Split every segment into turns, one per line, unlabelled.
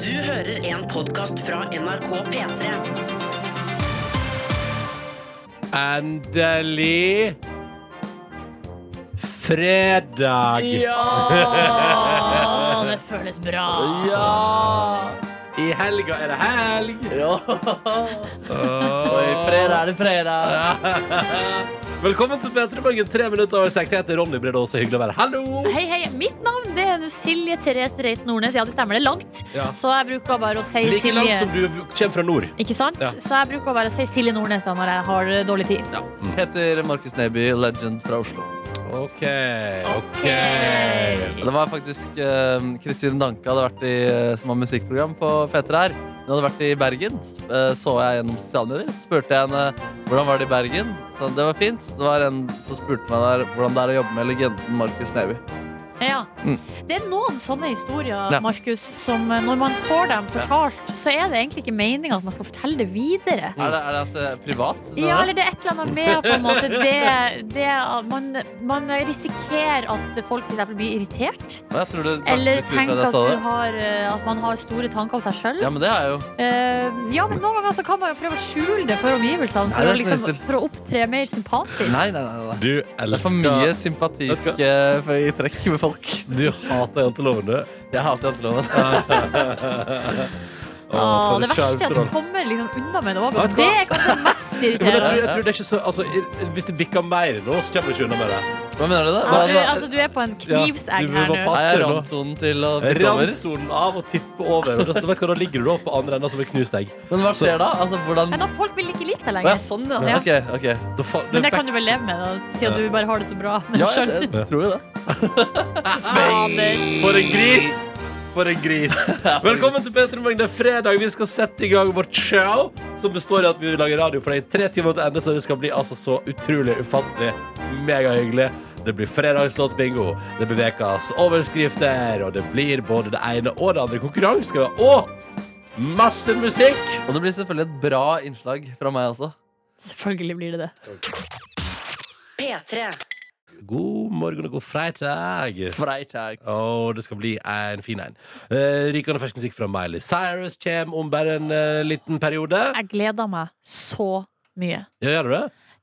Du hører en podkast fra NRK P3.
Endelig fredag.
Ja! Det føles bra.
Ja!
I helga er det helg.
ja. Og i fredag er det fredag.
Velkommen til P3 Morgen, tre minutter over seks. Jeg heter Ronny Brede Aase, hyggelig å være her. Hallo!
Hei, hei. Mitt navn det er Silje Therese Reit Nordnes. Ja, det stemmer. Det er langt.
Ja.
Så jeg bruker bare å si
Like langt
Silje
som du kommer fra nord.
Ikke sant?
Ja.
Så jeg bruker bare å si Silje Nordnes da, når jeg har eh, dårlig tid.
Ja. Heter Markus Neby, legend fra Oslo.
OK. OK.
Det var faktisk eh, Kristine Danke hadde vært i, eh, som har musikkprogram på P3 her. Hun hadde vært i Bergen, s- eh, så jeg gjennom sosiale medier. Så spurte jeg henne hvordan var det i Bergen. Så det var fint. Det var en som spurte meg der hvordan det er å jobbe med legenden Markus Neby.
Ja.
Mm.
Det er noen sånne historier,
Ja.
Markus, som eh, når man får dem fortalt, så er det egentlig ikke meninga at man skal fortelle det videre.
Er det, er det altså privat?
Ja, eller det er et eller annet med på en måte det, det at man, man risikerer at folk for eksempel blir irritert.
Jeg tror det
Eller
faktisk ut fra
tenk
det jeg
at,
sa
du
det.
har, eh, at man har store tanker om seg sjøl. Ja.
Ja, men det har jeg jo.
Eh, men noen ganger så kan man jo prøve å skjule det for omgivelsene,
Nei,
for, å,
det er ikke
liksom,
noe
for å opptre mer sympatisk.
Nei, nei, nei. nei.
Du
Det er for mye sympatiske i trekk med folk.
Du hater janteloven, du.
Jeg hater janteloven.
Åh,
for
det verste er
et
at
skjermtroll.
du kommer liksom unna med det òg,
Vet
og
du hva?
det er kanskje det mest
Ja, men jeg tror,
irriterende.
jeg tror det er ikke så altså, i- Hvis det bikker mer nå, så kommer du ikke unna med det.
Hva mener du da?
Ja,
Hva,
du, altså, du er på en
Ja, du
knivsegg
vil
her
bare
nå.
passe.
er jeg randsonen til å tippe over?
Randsonen av å tippe over. Og da, da vet du hva, da ligger du da på andre enda som en knust egg.
Men hva skjer da? Altså, hvordan...
Nei, da folk vil ikke like deg
Å, ja,
lenger.
sånn, ja.
Ja.
Ok, ok.
Da fa-
Men det
back-
kan du vel leve med, da, siden du bare har det så bra med
Ja,
deg sjøl.
jeg, jeg tror jo det.
For en gris! For en gris. Velkommen til P3 Morgen. Det er fredag. Vi skal sette i gang vårt show, som består i at vi lager radio for deg i tre timer til ende, så det skal bli altså så utrolig ufattelig megahyggelig. Det blir fredagslåtbingo, det blir ukas overskrifter, og det blir både det ene og det andre. Konkurranse skal vi ha, og masse musikk!
Og det blir selvfølgelig et bra innslag fra meg også.
Selvfølgelig blir det det.
P3.
God morgen og god fredag.
Freitag.
Og det skal bli en fin en. Eh, rykende fersk musikk fra Miley Cyrus kommer om bare en eh, liten periode.
Jeg gleder meg så mye.
Ja, gjør du det?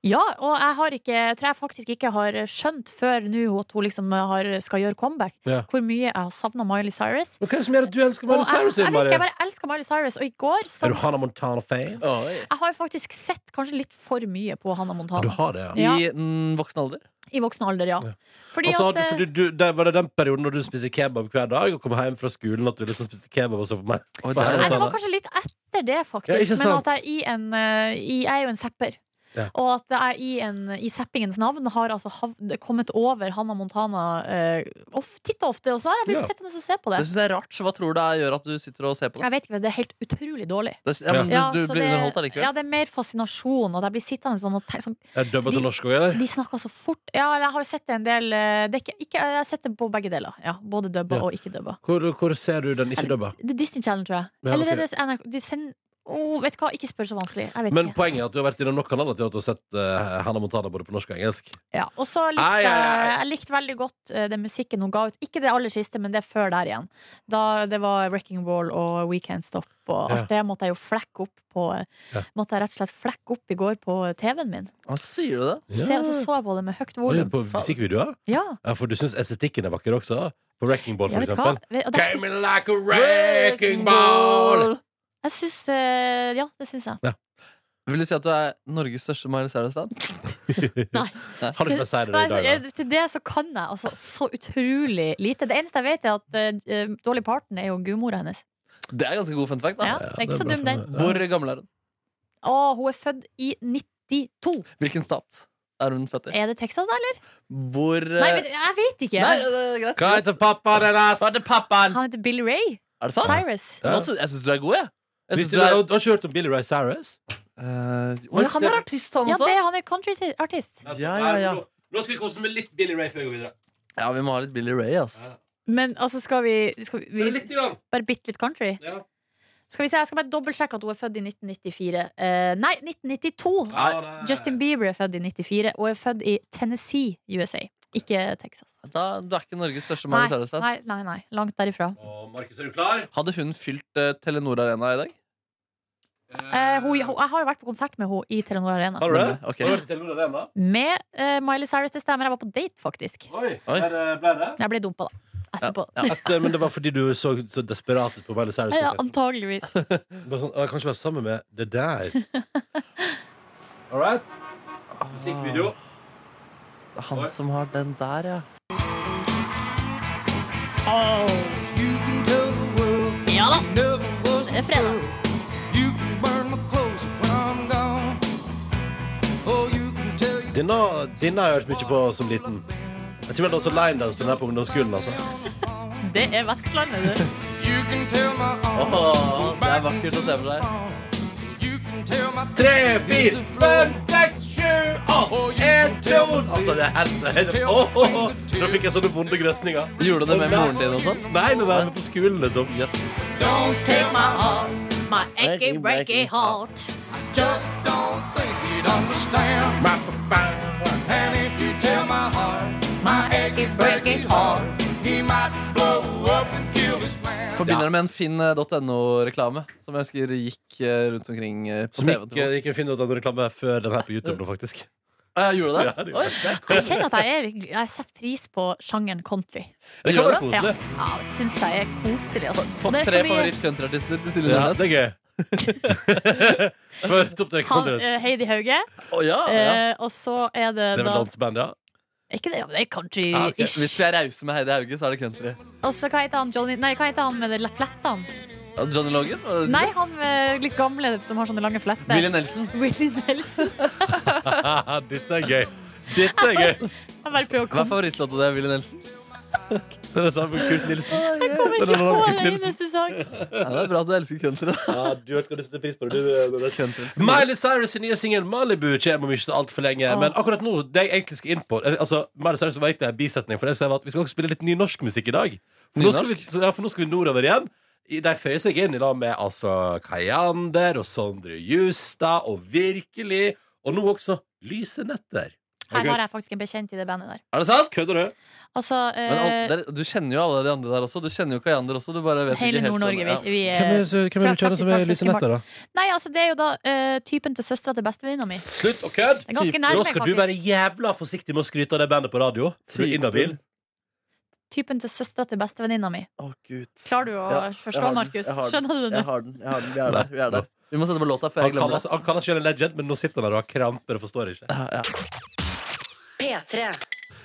Ja, og jeg har ikke, jeg tror jeg faktisk ikke har skjønt før nå at hun liksom har, skal gjøre comeback,
Ja.
hvor mye jeg har savna Miley Cyrus.
Og Hva er det som gjør at du elsker
Og
Miley
jeg,
Cyrus?
jeg, vet
Mari?
ikke, jeg bare elsker Miley Cyrus, og i går så
Er du Hannah Montana-fan?
Oi.
Jeg har faktisk sett kanskje litt for mye på Hannah
Du
Montana.
har det, ja.
I
Ja.
mm, voksen alder.
I voksen alder, ja.
Ja.
Fordi
Og så
at
hadde- for
eh,
du, Altså, du, det var det den perioden når du spiste kebab hver dag og kom hjem fra skolen at du liksom spiste kebab og så på meg?
Oi,
På
der.
Hannah
eh, Nei, det var
Montana.
kanskje litt etter det, faktisk.
Ja, ikke
men
sant?
at jeg i en eh, i, Jeg er jo en zapper.
Ja.
Og at jeg i, en, i zappingens navn har altså hav- kommet over Hannah Montana eh, of- titt og ofte, og så har jeg blitt
Ja.
sittende og se på det.
Det synes jeg er rart. så Hva tror du det er, gjør at du sitter og ser på det?
Jeg vet ikke, Det er helt utrolig dårlig.
det ja, men du,
Ja,
du
så
blir
det-
underholdt allikevel.
Ja, det er mer fascinasjon. Og jeg blir sittende sånn og tenke sånn,
Jeg dubba til
De-
norsk òg, eller?
De snakker så fort. Ja, eller jeg har jo sett det en del eh, det er ikke, ikke, Jeg har sett det på begge deler. Ja, Både dubba
Ja.
og ikke dubba.
Hvor, hvor ser du den ikke dubba?
Det er Disney Channel, tror jeg.
Ja,
Eller
ok.
er det NRK de sender, Åh, Vet du hva, ikke spør så vanskelig. Jeg vet
Men
ikke.
poenget er at du har vært i nok kanaler til at du har sett eh, Hannah Montana både på norsk og engelsk.
Ja, og så likte
Ai, ai, ai.
jeg Jeg likte veldig godt eh, den musikken hun ga ut. Ikke det aller siste, men det er før der igjen. Da det var Wrecking Ball og We Can't Stop og alt det måtte jeg jo flekke opp på
Ja.
Måtte jeg rett og slett flekke opp i går på TV-en min.
Hva sier du det?
Se, og så så jeg på det med høyt
Oi,
volum.
På musikkvideoer?
Ja,
Ja, for du syns estetikken er vakker også? På Wrecking Ball, for
jeg vet hva.
eksempel?
Ve- Og det,
Came in like a wrecking ball!
jeg syns eh, Ja, det syns jeg.
Vil du si at du er Norges største Miley Cyrus-fan?
Har du ikke mer å si det i
Nei, så,
dag, da?
jeg- til det så kan jeg altså så utrolig lite. Det eneste jeg vet, er at eh, Dolly Parton er jo gudmora hennes.
Det er ganske god fun fact. da
Ja, det er ikke så dum, den.
Hvor gammel er hun?
Å, hun er født i 92.
Hvilken stat er hun født i?
Er det Texas, da, eller?
Hvor eh,
Eh. Nei, men jeg vet ikke.
nei, det er greit.
Hva heter pappaen hennes?
Hva heter pappaen?
Han heter Billy Ray
Er det sant?
Cyrus.
Ja.
Nå sy- Jeg syns du er god, jeg. jeg synes
Visste
du
du,
er,
har du ikke hørt om Billy Ray Cyrus?
Eh,
Oi,
oi, han er artist, han
Ja,
også.
det er han er countryartist.
Ja, ja, ja.
Nå skal vi kose med litt Billy Ray før vi går videre.
Ja, vi må ha litt Billy Ray, ass.
Ja.
Men altså, skal vi, skal vi, vi
grann.
Bare bitte litt country?
Ja.
Skal vi se, Jeg skal bare dobbeltsjekke at hun er født i 1994. Eh, nei,
Ah.
1992! Justin Bieber er født i 94 og er født i Tennessee, USA. Ikke Texas.
Da, du er ikke Norges største
Nei,
Magnus Erlesveen.
nei, nei, nei. Langt derifra.
Og Markus, er du klar?
Hadde hun fylt eh, Telenor Arena i dag?
Eh, hun, hun, jeg har jo vært på konsert med henne i Telenor Arena.
Har du det?
Ok.
Har du vært i Telenor Arena?
Med eh, Miley Cyrus, det stemmer. Jeg var på date, faktisk.
Oi,
Oi.
der eh, ble det.
Jeg ble dumpa, da. Etterpå.
Ja,
Etter, men det var fordi du så så desperat ut på Miley Cyrus.
Ja, antageligvis.
Bare sånn, «Å, jeg kan ikke være sammen med det der. All right. Musikkvideo.
Det er han som har den der, ja.
Ja da. Det er fredag. Oh,
Denne, denne har jeg hørt mye på som liten. Jeg tror jeg dansa linedance til den her på ungdomsskolen. altså
Det er Vestlandet, du.
Åh, det er vakkert å se for seg.
Tre, fire, fem, seks, sju,
Oh,
åtte, en, to Altså, det er helt helt- Åh, åh, åh. Nå fikk jeg sånne vonde grøsninger.
Gjorde du det med moren din og sånn?
Nei, det var med på skolen, liksom.
Yes.
Take my heart, my achy, breaky heart. Just
Forbinder det med en eh, finn.no-reklame som jeg husker gikk eh, rundt omkring eh, på
Som
TV.
ikke, ikke finner ut av noen reklame før den her på YouTube nå, faktisk.
Ah, ja, gjorde
Ja,
du det?
det gjorde
Oi, det er
Jeg kjenner at jeg, er, jeg setter pris på sjangeren country.
Det kan
Gjør
være
det?
Ja,
koselig.
ja det syns jeg er koselig. Altså.
Topp
Det er så
tre
mye-
favoritt-countryartister til Silje
Ja,
Nordnes.
det er gøy. For topp tre
Han,
kontinent.
eh, Heidi Hauge.
Å, ja, ja.
eh, og så er det,
Det er vel
da
danseband, ja?
Ikke det, ja, men det er
Ja, ok. Hvis
country-ish.
vi er rause med Heidi Hauge, så er det country.
Og så hva heter han Johnny Nei, hva heter han med de flettene?
Ja, Johnny Logan? Hva er det du
Nei,
sier?
han eh, litt gamle som har sånne lange fletter.
Willie Nelson?
Willie Nelson.
Dette er gøy. Dette er gøy.
Jeg bare prøver å
Hva er
komme
favorittlåta di, Willie Nelson?
Det er det samme med Kurt Nilsen.
Jeg kommer
Det er
ikke
noen
på
Kurt
en
Nilsen.
eneste sang.
Ja, det er bra at du elsker country. da.
Ja, du vet hva du setter pris på. Du, du, du.
Country.
Miley Cyrus' sin nye singel 'Malibu' kommer om ikke så altfor lenge. Men akkurat nå, det jeg egentlig skal inn på eh, Altså, Miley Cyrus var egentlig en bisetning, for det sa jeg var at vi skal også spille litt ny norsk musikk i dag. For nå skal vi,
Nynorsk?
så- ja, for nå skal vi nordover igjen. I- De føyer seg inn i lag med altså Kayander og Sondre Justad og Virkelig. Og nå også Lyse netter.
Her har jeg faktisk en bekjent i det bandet der.
Er det sant?
Kødder du?
Altså, eh,
Men al- der, du kjenner jo alle de andre der også. Du kjenner jo Kayander også. Du bare vet
hele
ikke helt
Nord-Norge.
hvem-
Vi, vi,
Hvem er,
eh,
så- hvem er det du
fra
kjenner som er
Praktisk
Lyse
Talt
netter, da?
nei, altså, det er jo da eh, typen til søstera til bestevenninna mi.
Slutt å kødde!
Det er ganske
Nå
nærme,
skal du
faktisk.
være jævla forsiktig med å skryte av det bandet på radio. For du er inhabil.
Typen til søstera til bestevenninna mi.
Å, gud.
Klarer du å
Ja, jeg
forstå,
har den.
Markus?
Jeg har den.
Skjønner du det
Jeg
nå?
har den. jeg har den, Vi er der. Vi, er der. vi må sette på låta før
Han
jeg glemmer det.
kaller seg selv en legend, men nå sitter han der og har kramper og forstår ikke.
Ja, ja.
P3.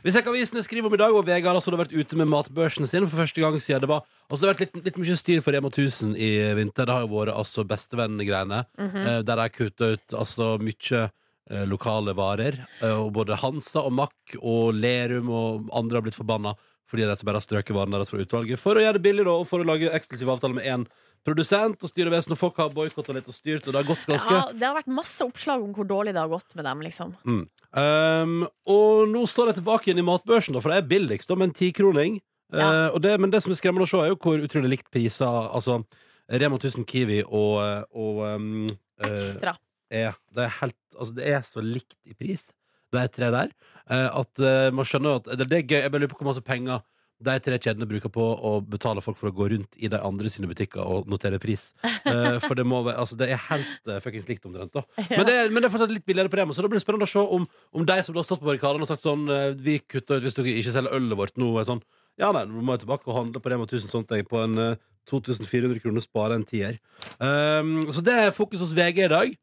Vi ser hva avisene skriver om i dag, og Vegard har altså vært ute med matbørsen sin for første gang siden det var Og så har det vært litt, litt mye styr for Rema 1000 i vinter. Det har jo vært altså bestevenngreiene, eh, der de har kutta ut altså mye eh, lokale varer. Eh, og både Hansa og Mack og Lerum og andre har blitt forbanna fordi de som bare har strøket varene deres fra utvalget for å gjøre det billig, da, og for å lage eksklusive avtaler med én produsent og styrevesen, og folk har boikotta litt og styrt, og det har gått ganske
Ja, det har vært masse oppslag om hvor dårlig det har gått med dem, liksom.
Um, og nå står jeg tilbake igjen i matbørsen, da, for det er billigst da, med en tikroning.
Ja.
Uh, og det, men det som er skremmende å se, er jo hvor utrolig likt priser Altså, Rema 1000 Kiwi og, og um, eh,
Ekstra.
er, det, er helt, altså, det er så likt i pris, de tre der, eh, at eh, man skjønner at eller, Det er gøy. Jeg bare lurer på hvor masse penger de tre kjedene bruker på å betale folk for å gå rundt i de andre sine butikker og notere pris. Eh, for det må være Altså, det er helt uh, fuckings likt omtrent, da. Men, det er, men det er fortsatt litt billigere på Rema, så det blir spennende å se om, om de som da har stått på barrikadene og sagt sånn eh, Vi kutter ut hvis dere ikke selger ølet vårt nå. Er sånn, ja, nei, nå må jeg tilbake og handle på Rema 1000 sånt jeg, på en eh, 2400 kroner spare en tier. Um, så det er fokus hos VG i dag.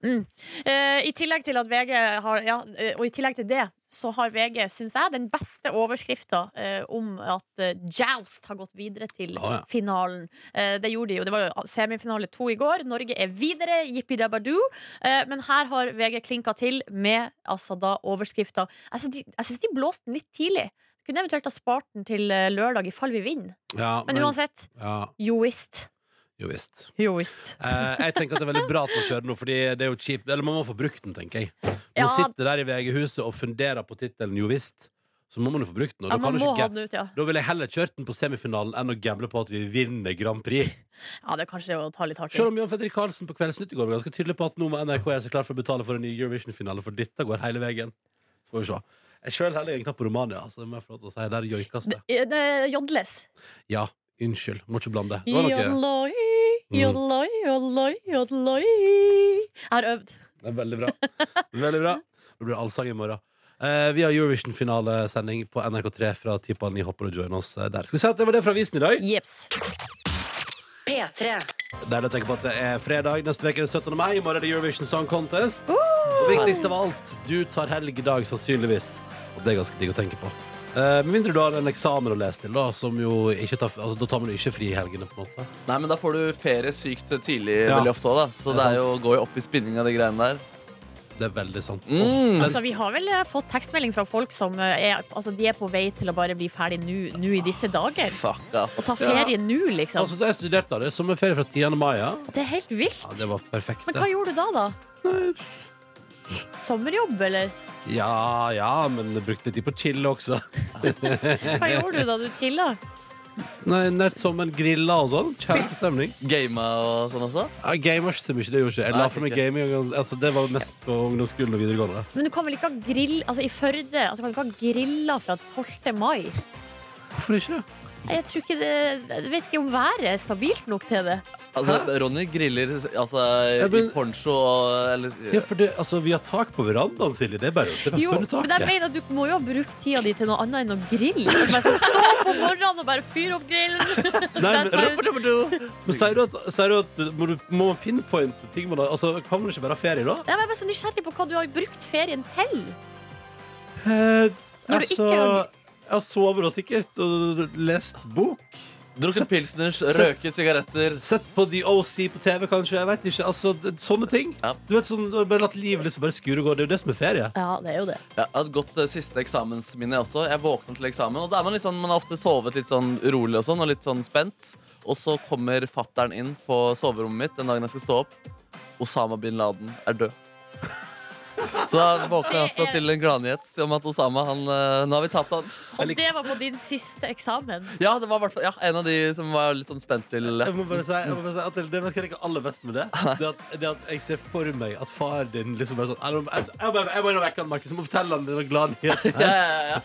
Eh, I tillegg til at VG har ja, eh, Og i tillegg til det så har VG, syns jeg, den beste overskrifta eh, om at eh, Joust har gått videre til
Ah, Ja, ja.
finalen. Eh, det gjorde de jo. Det var jo semifinale to i går. Norge er videre. Jippi dabadu. men her har VG klinka til med altså da overskrifta altså, de- Jeg syns de blåste den litt tidlig. Kunne eventuelt ha spart den til eh, lørdag, i fall vi vinner.
Ja,
Men uansett,
ja,
jo visst.
jo visst.
Jo visst.
Eh, jeg tenker at det er veldig bra at man kjører nå, Fordi det er jo kjipt. Eller man må få brukt den, tenker jeg. Når man
Ja.
sitter der i VG-huset og funderer på tittelen 'Jo visst', så må man jo få brukt den. Og
Ja,
da, kan
man
du
må
ikke,
ha
ga-
den ut, ja.
da vil jeg heller kjørt den på semifinalen enn å gamble på at vi vinner Grand Prix.
Ja, det er kanskje å ta litt hardt i.
Selv om Jan Fredrik Karlsen på Kveldsnytt i går var ganske tydelig på at nå må NRK gjøre seg klar for å betale for en ny Eurovision-finale, for dette går hele veien. Så får vi se. Jeg sjøl heller jeg en knapp på Romania. Altså, det må jeg få lov til å si. Der joikas det.
Eh, det- Jodles.
Ja, unnskyld. Må ikke blande. Det var noe.
Jodloi,
Mm.
jodloi, jodloi, jodloi. Jeg har øvd.
Det er veldig bra. Veldig bra. Det blir allsang i morgen. Eh, vi har Eurovision-finalesending på NRK3 fra ti på halv ni. Håper du joiner oss eh, der. Skal vi si at det var det fra avisen i dag?
Jeps.
P3.
Deilig å tenke på at det er fredag. Neste uke er det 17. mai. I morgen er det Eurovision Song Contest. Og viktigst av alt, du tar helg i dag, sannsynligvis. Og det er ganske digg å tenke på. Eh, Med mindre du har en eksamen å lese til, da, som jo ikke tar, altså, da tar man jo ikke fri i helgene. på en måte
Nei, men da får du ferie sykt tidlig
Ja.
veldig ofte òg, da. Så
Det er
det, er jo, går jo opp i spinning av de greiene der.
Det er veldig sant.
Mm.
Åh, men-
Altså, vi har vel eh, fått tekstmelding fra folk som eh, er, altså, de er på vei til å bare bli ferdig nå nå i disse dager.
Fuck off.
Å ta ferie nå, liksom.
altså, da jeg studerte, da, det er sommerferie fra 10. mai. Ja.
det er helt
Ja,
vilt.
det var perfekt.
Men
det.
hva gjorde du da, da? Sommerjobb, eller?
Ja, ja, men jeg brukte tid på chill også.
Hva gjorde du da du chilla?
Nei, Nett som en grilla og sånn. Kjempestemning.
Gama og sånn også?
Ja, gamers som ikke det gjorde ikke. Jeg la
Nei,
fra meg
ikke.
gaming. Altså, det var mest på ungdomsskolen og videregående.
Men du kan vel ikke ha grill Altså, i Førde altså, kan du ikke ha grilla fra 12. mai?
Hvorfor ikke? det?
Jeg tror ikke det Jeg vet ikke om været er stabilt nok til det.
Altså, Ronny griller altså,
men-
i poncho og eller,
Ja, for det, altså, vi har tak på verandaen, Silje. Det er bare det er bare
Jo,
å stå under
men jeg
taket.
mener at du må jo ha brukt tida di til noe annet enn å grille. Som jeg skal stå opp om morgenen og bare fyre opp grillen.
Nei,
Sett meg ut.
Men sier du at, sier du at må, du, må man pinpointe ting man har Altså, Kan man ikke bare ha ferie, da?
Jeg er bare så nysgjerrig på hva du har brukt ferien til.
Eh,
Når du
altså,
ikke har-
Jeg har sovet da sikkert og lest bok.
Drukket pilsners,
Sett-
røket sigaretter.
Sett på The OC på TV, kanskje. Jeg vet ikke, altså, det, Sånne ting.
Ja.
Du vet, sånn, du har Bare latt livet liksom bare skure og gå. Det er jo det som er ferie.
Ja, det er jo det.
Jeg hadde godt eh, siste eksamensminne også. Jeg våkna til eksamen, og da er man litt sånn, man har ofte sovet litt sånn urolig og sånn, og litt sånn spent. Og så kommer fatteren inn på soverommet mitt den dagen jeg skal stå opp. Osama bin Laden er død. Så da våkna jeg altså til en gladnyhet om at Osama han, eh, Nå har vi tapt han.
Og det var på din siste eksamen.
Ja, det var i hvert fall ja, en av de som var litt sånn spent til
Jeg må bare si, jeg må bare si at det, det jeg liker aller best med det, det at, det at jeg ser for meg at far din liksom bare sånn Jeg, må- jeg, jeg, må- jeg må inn og vekke han, Markus. Jeg må fortelle han denne glade nyheten.
Ja, ja, ja, ja.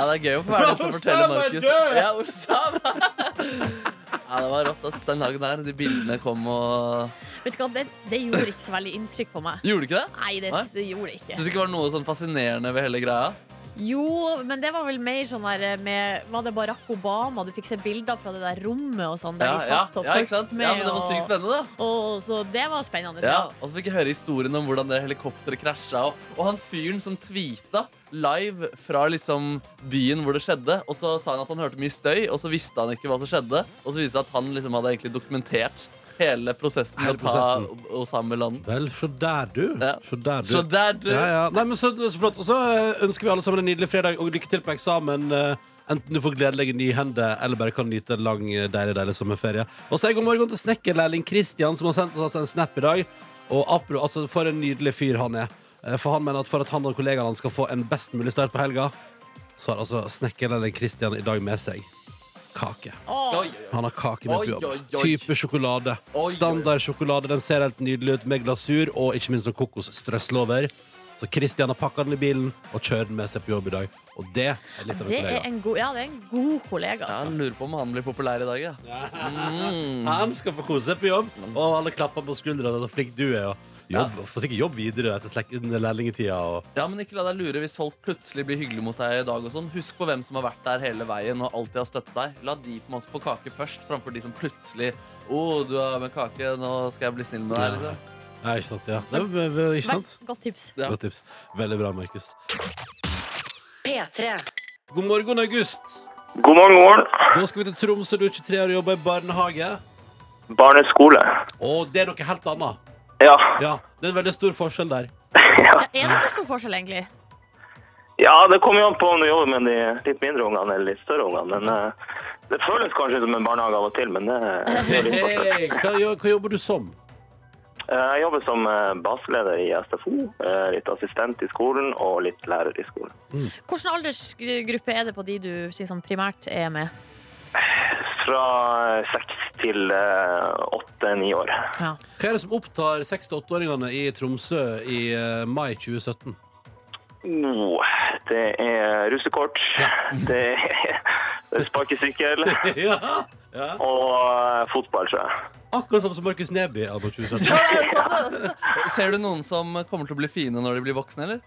ja, det er gøy å få være den som
Osama
forteller
er
Markus.
død!
Ja, Osama! Ja, det var rått. ass. Den dagen der, de bildene kom og
Vet du hva, det, det gjorde ikke så veldig inntrykk på meg.
Gjorde det ikke det?
Nei, det s- gjorde det ikke.
Syns du ikke det var noe sånn fascinerende ved hele greia?
Jo, men det var vel mer sånn der med Var det Barack Obama? Du fikk se bilder fra det der rommet og sånn, der
Ja,
de
ja,
satt og
ja, ikke sant?
fulgte med.
ja, men det var sykt
og,
spennende, da.
og, så det var spennende.
Ja,
Ja.
og så fikk jeg høre historien om hvordan det helikopteret krasja. Og, og han fyren som tweeta live fra liksom byen hvor det skjedde. Og så sa han at han hørte mye støy, og så visste han ikke hva som skjedde. Og så viste det seg at han liksom hadde egentlig dokumentert hele prosessen
Hele
med å ta
prosessen.
O- Osama bin Laden.
Vel, se der, du.
Ja.
Se der, du.
Så der, du.
Ja, ja. Nei, men så, så flott. Og så eh, ønsker vi alle sammen en nydelig fredag og lykke til på eksamen. eh, Enten du får gledelige nyhender eller bare kan nyte en lang, eh, deilig deilig sommerferie. Og så er god morgen til snekkerlærling Christian, som har sendt oss altså en snap i dag. Og apro, altså, for en nydelig fyr han er. Eh, For han mener at for at han og kollegaene hans skal få en best mulig start på helga, så har altså snekkerlærling Christian i dag med seg kake.
Oi, oi, oi.
Han har kake med
Oi,
på jobb.
oi, oi.
Type sjokolade.
Oi, oi, oi.
Standardsjokolade. Den ser helt nydelig ut med glasur og ikke minst noen kokosstrøssel over. Så Christian har pakka den i bilen og kjører den med seg på jobb i dag. Og det er litt av en
Det er
kollega.
en god, ja, det er en god kollega,
Ja,
altså.
jeg lurer på om han blir populær i dag, ja. Mm.
Han skal få kose seg på jobb, og alle klapper på skuldra. Så flink du er. Og jobb, Får sikkert jobb videre etter slek- lærlingetida. Og...
Ja, men ikke la deg lure hvis folk plutselig blir hyggelige mot deg i dag og sånn. Husk på hvem som har vært der hele veien og alltid har støttet deg. La de på en måte få kake først, framfor de som plutselig Å, du har med kake, nå skal jeg bli snill med deg. Liksom.
Ja, ikke sant? Ja. Det er, v- v- ikke sant?
Godt tips.
Ja.
Godt tips. Veldig bra, Markus.
P3.
God morgen, August.
God morgen, god morgen.
Da skal vi til Tromsø. Du er 23 år og jobber i barnehage.
Barneskole.
Og det er noe helt annet.
Ja.
Ja, det er en veldig stor forskjell der.
Ja, er det så stor forskjell, egentlig?
ja, det kommer jo an på om du jobber med de litt mindre ungene eller litt større ungene. Men eh, det føles kanskje som en barnehage av og til, men det det er litt forskjell.
Hei, hva, jo- hva jobber du som?
Eh, Jeg jobber som eh, baseleder i SFO, eh, litt assistent i skolen og litt lærer i skolen.
Hvilken aldersgruppe er det på de du liksom, primært er med?
Fra eh, seks til åtte-ni år.
Ja.
Hva er det som opptar 6-8-åringene i Tromsø i eh, mai 2017?
Oh, det er russekort, det er sparkesykkel
Ja, ja.
og eh, fotball, tror jeg.
Akkurat samme som Markus Neby. anno 2017.
Ser du noen som kommer til å bli fine når de blir voksne, eller?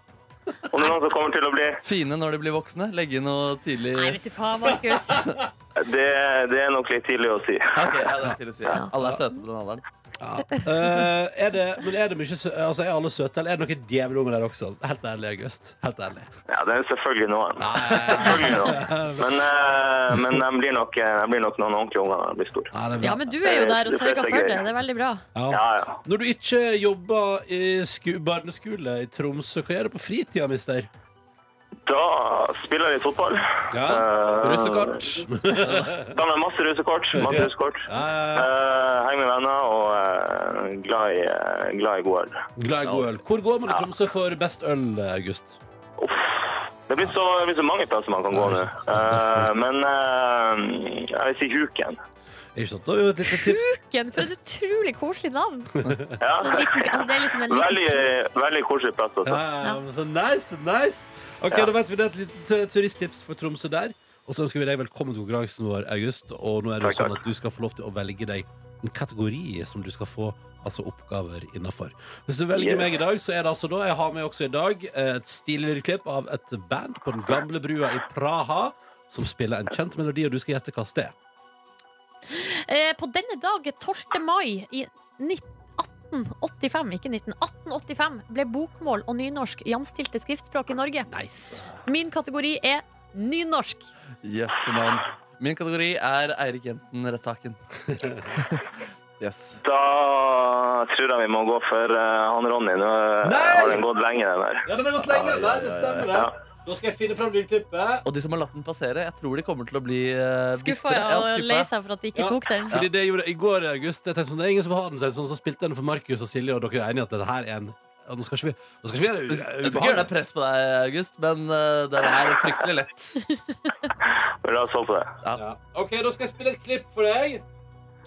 Om det er noen som kommer til å bli
Fine når de blir voksne? Legge inn noe tidlig
Nei, vet du hva, Markus.
det, det er nok litt tidlig å si.
Ja, ok, ja, det er til å si. Alle er søte på den alderen.
Ja. Eh, er det, men er det mye sø altså, Er alle søte, eller er det noen djevelunger der også? Helt ærlig, August. Helt ærlig.
Ja, det er selvfølgelig noen.
Nei,
Selvfølgelig noen. Men, eh, men de, blir nok, eh, de blir nok noen ordentlige unger når de blir store.
nei, det er bra.
Ja, men du er jo der og sørger for det. Det er veldig bra.
Ja, ja.
Når du ikke jobber i sku barneskole i Tromsø, hva gjør du på fritida, mister?
Da spiller jeg litt fotball.
Ja,
Eh,
Russekort.
Da med masse russekort. Masse russekort.
Ja, ja, ja.
Eh, Heng med venner og eh, glad i, eh, glad i god øl.
Glad i god øl. Hvor går man i Tromsø for best øl, August?
Uff. Det er blitt så, det er blitt så mange plasser man kan gå
Ja,
nå.
ikke sant. Altså,
Eh, men eh, jeg vil si Huken.
Ikke sant? Da er jo et lite tips.
Huken, for et utrolig koselig navn.
Ja.
En liten- Altså, det er liksom en liten
Veldig, veldig koselig plass.
Ja,
Altså.
ja, ja, men så nice, nice. Ok,
Ja.
Da vet vi det er et lite tu- turisttips for Tromsø der. Og så ønsker vi deg velkommen til konkurransen vår, August. Og nå er det jo
Takk,
sånn
takk.
at du skal få lov til å velge deg en kategori som du skal få altså oppgaver innafor. Hvis du velger
Yeah.
meg i dag, så er det altså da Jeg har med også i dag eh, et stilig lille klipp av et band på den gamle brua i Praha som spiller en kjent melodi, og du skal gjette hva det er.
Eh, På denne dag, 12. mai i 1885, ikke 19, 1885 ble bokmål og nynorsk jamstilte skriftspråk i Norge.
Nice.
Min kategori er nynorsk.
Jøsse navn. Min kategori er Eirik Jensen-rettssaken. Yes.
Da tror jeg vi må gå for eh, han Ronny. Nå eh,
Nei!
har den gått lenge, den der.
Ja, den har gått lenger. Nei, det stemmer,
Ja.
det. Da skal jeg finne fram lydklippet.
Og de som har latt den passere, jeg tror de kommer til å bli uh,
Skuffa ja, og lei seg for at de ikke
Ja.
tok den.
Fordi det gjorde jeg i går i august. Jeg tenkte sånn, det er ingen som har den selv, sånn, så spilte jeg den for Markus og Silje, og dere er enige at dette her er en ja, Nå skal ikke vi Nå skal ikke vi
Jeg
gjøre
skal
det
ikke gjøre deg press på deg, August, men eh, det er fryktelig lett.
Men La oss holde på det.
Ja. OK, da skal jeg spille et klipp for deg.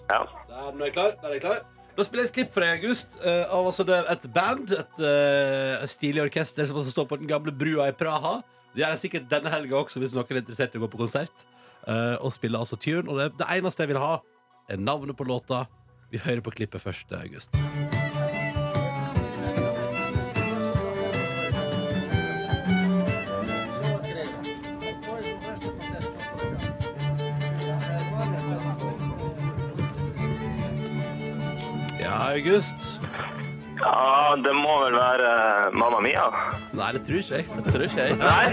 Ja.
Der, nå er jeg klar. Der er jeg klar. Da spiller jeg et klipp for deg, August, eh, av altså det, et band. Et eh, stilig orkester som også står på den gamle brua i Praha. De er sikkert denne helga også, hvis noen er interessert i å gå på konsert. eh, og spille altså tune. Og det, det eneste jeg vil ha, er navnet på låta. Vi hører på klippet først, August. Ja, August.
ja, det må vel være eh, Mamma Mia.
Nei, det tror ikke jeg.
Tror ikke jeg.
Nei!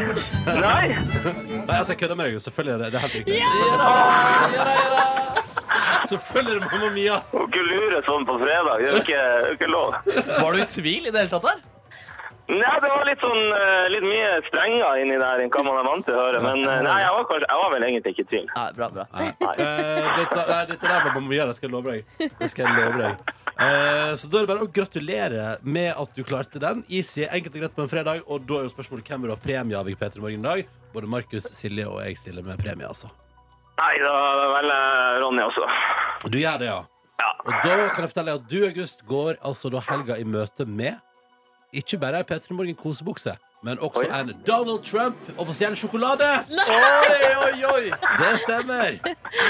Nei!
Nei, altså, jeg kødder med deg. Selvfølgelig er det, det er helt riktig. Selvfølgelig er det Mamma Mia.
Å ikke lure sånn på fredag, det er jo ikke, det er jo ikke lov.
Var du i tvil i det hele tatt der?
Nei, det var litt sånn eh, litt mye strenger inni der enn hva man er vant til å høre. Men eh, nei, jeg var, kanskje, jeg var vel egentlig ikke i tvil.
Nei, bra, bra.
Eh, dette, nei, dette der var Mamma Mia, det skal jeg love deg. Det skal jeg love deg. Eh, så da er det bare å gratulere med at du klarte den. Easy, enkelt og greit på en fredag. Og da er jo spørsmålet hvem vil ha premie av i Peter Morgen i dag. Både Markus, Silje og jeg stiller med premie, altså.
Nei, da velger jeg Ronny også.
Du gjør det, ja.
Ja.
Og da kan jeg fortelle deg at du, August, går altså da helga i møte med ikke bare ei Peter Morgen kosebukse, men også
Oi.
en Donald Trump offisiell sjokolade.
Oi, oi, oi!
Det stemmer.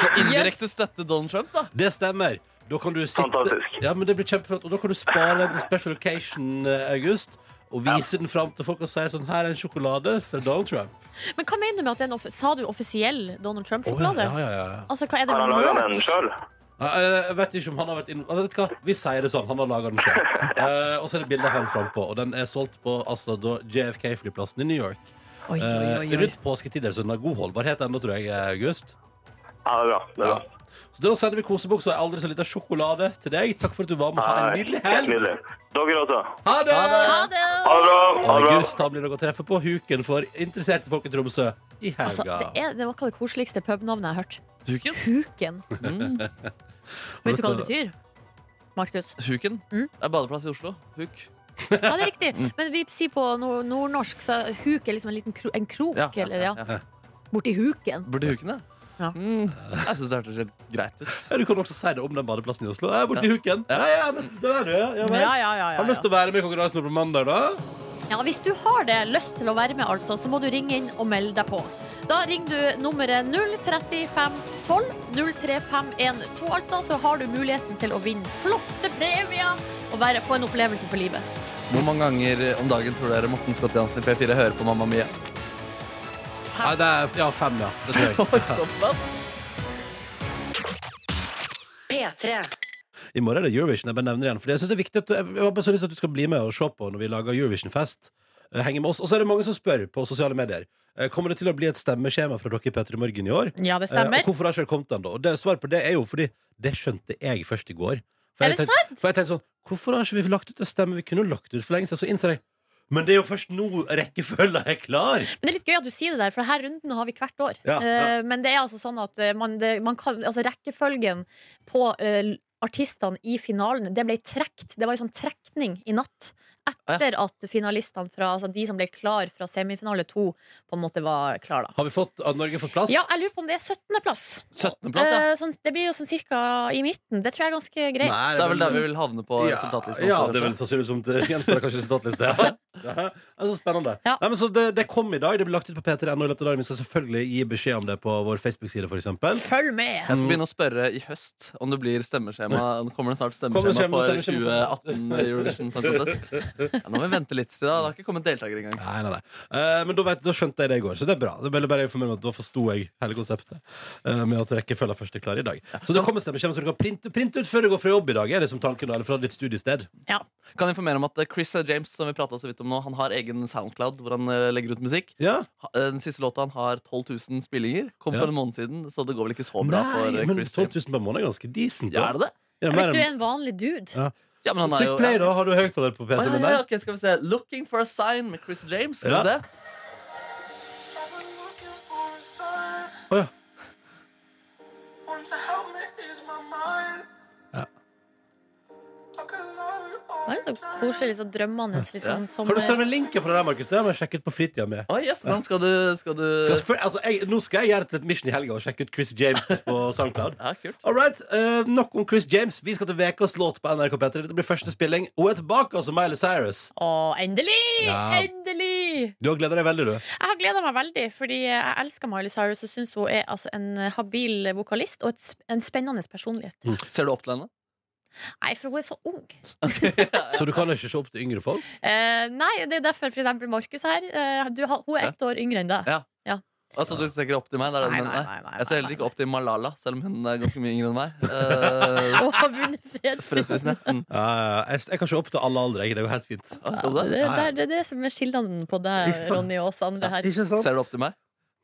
Så indirekte støtte Donald Trump, da.
Det stemmer. Da kan du sitte,
Fantastisk.
Ja, men det blir kjempeflott. Og da kan du spare den til special occasion, eh, August. Og vise den fram til folk og si sånn Her er en sjokolade fra Donald Trump.
Men hva mener du med at det er en off- Sa du offisiell Donald Trump-sjokolade?
ja, ja, ja.
Altså, hva er det
Har han laga den
mørkt?
sjøl?
Nei, eh, Jeg vet ikke om han har vært inn... Eh, Vet du hva? Vi sier det sånn. Han har laga den sjøl. Eh, og så er det bilde av han frampå. Og den er solgt på altså, da JFK-flyplassen i New York.
Oi, oi,
Eh,
oi, oi.
rundt påsketider, så den har god holdbarhet ennå, tror jeg, eh, August.
Ja, det er bra. Det er bra.
Så da sender vi kosebukse og ei aldri så lita sjokolade til deg. Takk for at du var med. Ha en
Nei,
nydelig
helt
helg.
nydelig. Dere også.
Ha det!
Ha det!
Ha det bra. Ha det bra.
August han blir nok å treffe på huken for interesserte folk i Tromsø i helga.
Altså, det, er, det var ikke det koseligste pubnavnet jeg har hørt.
Huken?
Huken. Mm. Vet du hva det betyr? Markus.
Huken?
Mm.
Det er badeplass i Oslo. Huk.
Ja, det er riktig. Men vi sier på nord- nordnorsk, så huk er liksom en liten kro en krok,
Ja, ja,
eller ja.
ja.
Borti huken.
Burde huken, ja.
Ja.
Mm. Jeg syns det hørtes helt greit ut.
Ja, du kan også si det om den badeplassen i Oslo. Jeg er borti huken. Ja, ja, den den er du, ja. ja, vel.
Ja, ja, ja, ja,
Har du lyst
ja.
til å være med i konkurransen på mandag, da?
Ja, hvis du har det lyst til å være med, altså, så må du ringe inn og melde deg på. Da ringer du nummeret 03512 03512, altså, så har du muligheten til å vinne flotte premier og være, få en opplevelse for livet.
Hvor mange ganger om dagen tror dere Morten Scott Jansen i P4 hører på Mamma Mia?
Nei, det er ja, fem, ja. Det tror jeg.
P3.
I morgen er det Eurovision. Jeg bare nevner det igjen. Fordi jeg synes det er viktig at, Jeg har bare så lyst til at du skal bli med og se på når vi lager Eurovision-fest. Eh, Henge med oss. Og så er det mange som spør på sosiale medier. eh, Kommer det til å bli et stemmeskjema fra dere i P3 Morgen i år?
Ja, det
Eh, Og hvorfor har ikke det kommet ennå? Og det- Svaret på det er jo fordi det skjønte jeg først i går. For
Er
jeg
det
tenkte, sant? For jeg tenkte sånn Hvorfor har ikke vi lagt ut en stemme? Vi kunne jo lagt ut for lenge siden. Så innser jeg Men det er jo først nå rekkefølgen er klar!
Men det er litt gøy at du sier det der, for denne runden har vi hvert år.
Ja, ja.
Eh, Men det er altså sånn at eh, man, det, man kan, altså rekkefølgen på eh, artistene i finalen, det ble trekt. Det var en sånn trekning i natt. Etter at finalistene fra, altså de som ble klar fra semifinale to, på en måte var klar da.
Har vi fått, har Norge fått plass?
Ja, jeg lurer på om det er 17. plass.
17. plass, ja.
Eh, sånn, det blir jo sånn cirka i midten. Det tror jeg er ganske greit.
Nei,
Det er vel der vi vil havne på
ja,
resultatlisten.
Ja,
også,
det er vel
kanskje.
sannsynligvis som det gjenspeiler kanskje resultatliste. Ja. Det er så spennende.
Ja.
Nei, men så det, det kom i dag. Det ble lagt ut på P3.no i løpet av dagen. Vi skal selvfølgelig gi beskjed om det på vår Facebook-side, for eksempel.
Følg med!
Jeg
Mm.
skal begynne å spørre i høst om det blir stemmeskjema. Nå Kommer det snart
Kommer det
stemmeskjema for
stemmeskjema
2018 Eurovision Song Contest? Ja, nå må vi vente litt til da. Det har ikke kommet deltaker engang.
Nei, nei, nei. Eh, men da, vet, da skjønte jeg det i går, så det er bra. Det er bare- bare informere om at Da forsto jeg hele konseptet eh, med at rekkefølgen først er klar i dag. Så det kommer stemmeskjema som du kan printe, printe ut før du går fra jobb i dag, er det som tanken, da, eller fra ditt studiested.
Ja.
Kan informere om at eh, Chris James som vi pratet så vidt om nå Han har egen Soundcloud hvor han eh, legger ut musikk.
Ja,
Ha- eh, Den siste låta han har 12 000 spillinger. Kom
Ja.
for en måned siden, så det går vel ikke så bra
nei,
for eh,
men 12
Chris James.
000 per måned er ganske decent.
Ja, er det det?
Ja, mer
Hvis du er
enn-
en vanlig dude.
Ja.
Ja, men han er
Trykk
jo
play,
ja.
da. Har du høyttaler på
Å, ja,
PC-en din?
ja, ja,
der?
ok, skal vi se. Looking for a sign med Chris James. Skal
Ja.
vi se.
Å, ja.
Ah.
Det er litt så koselig, litt så drømmende. Litt sånn,
Kan du
sommer-
sende meg linken på det der, Markus? Det må jeg sjekke ut på fritida mi.
Oi, yes, den skal du, skal du...
Skal jeg spør- altså, jeg, nå skal jeg gjøre et mission i helga og sjekke ut Chris James på SoundCloud.
Ja, kult.
All right, eh, Nok om Chris James. Vi skal til ukas låt på NRK P3. Dette blir første spilling. Hun er tilbake, altså Miley Cyrus.
Å, endelig!
Ja.
Endelig!
Du har gleda deg veldig, du.
Jeg har gleda meg veldig, fordi jeg elsker Miley Cyrus og syns hun er altså, en habil vokalist og et, sp- en spennende personlighet.
Ser du opp til henne?
Nei, for hun er så ung.
Så du kan ikke se opp til yngre folk?
Eh, nei, det er derfor for eksempel Markus her. eh, du, har- hun er ett år yngre enn deg.
Ja. Altså, du ser ikke opp til meg? Det er det du
Nei,
mener?
nei, nei, nei,
jeg ser heller
nei,
ikke opp til Malala, selv om hun er ganske mye yngre enn meg.
Og har vunnet
Uh,
fredsprisen.
Fredsprisen, ja. Mm.
jeg, jeg kan se opp til alle aldre. jeg. Det går helt fint.
Å,
Ja,
så
det,
det.
det, er- det er det som er skillnaden på
Ikke
deg,
sant?
Ronny, og oss andre her.
Ikke sant?
Ser du opp til meg?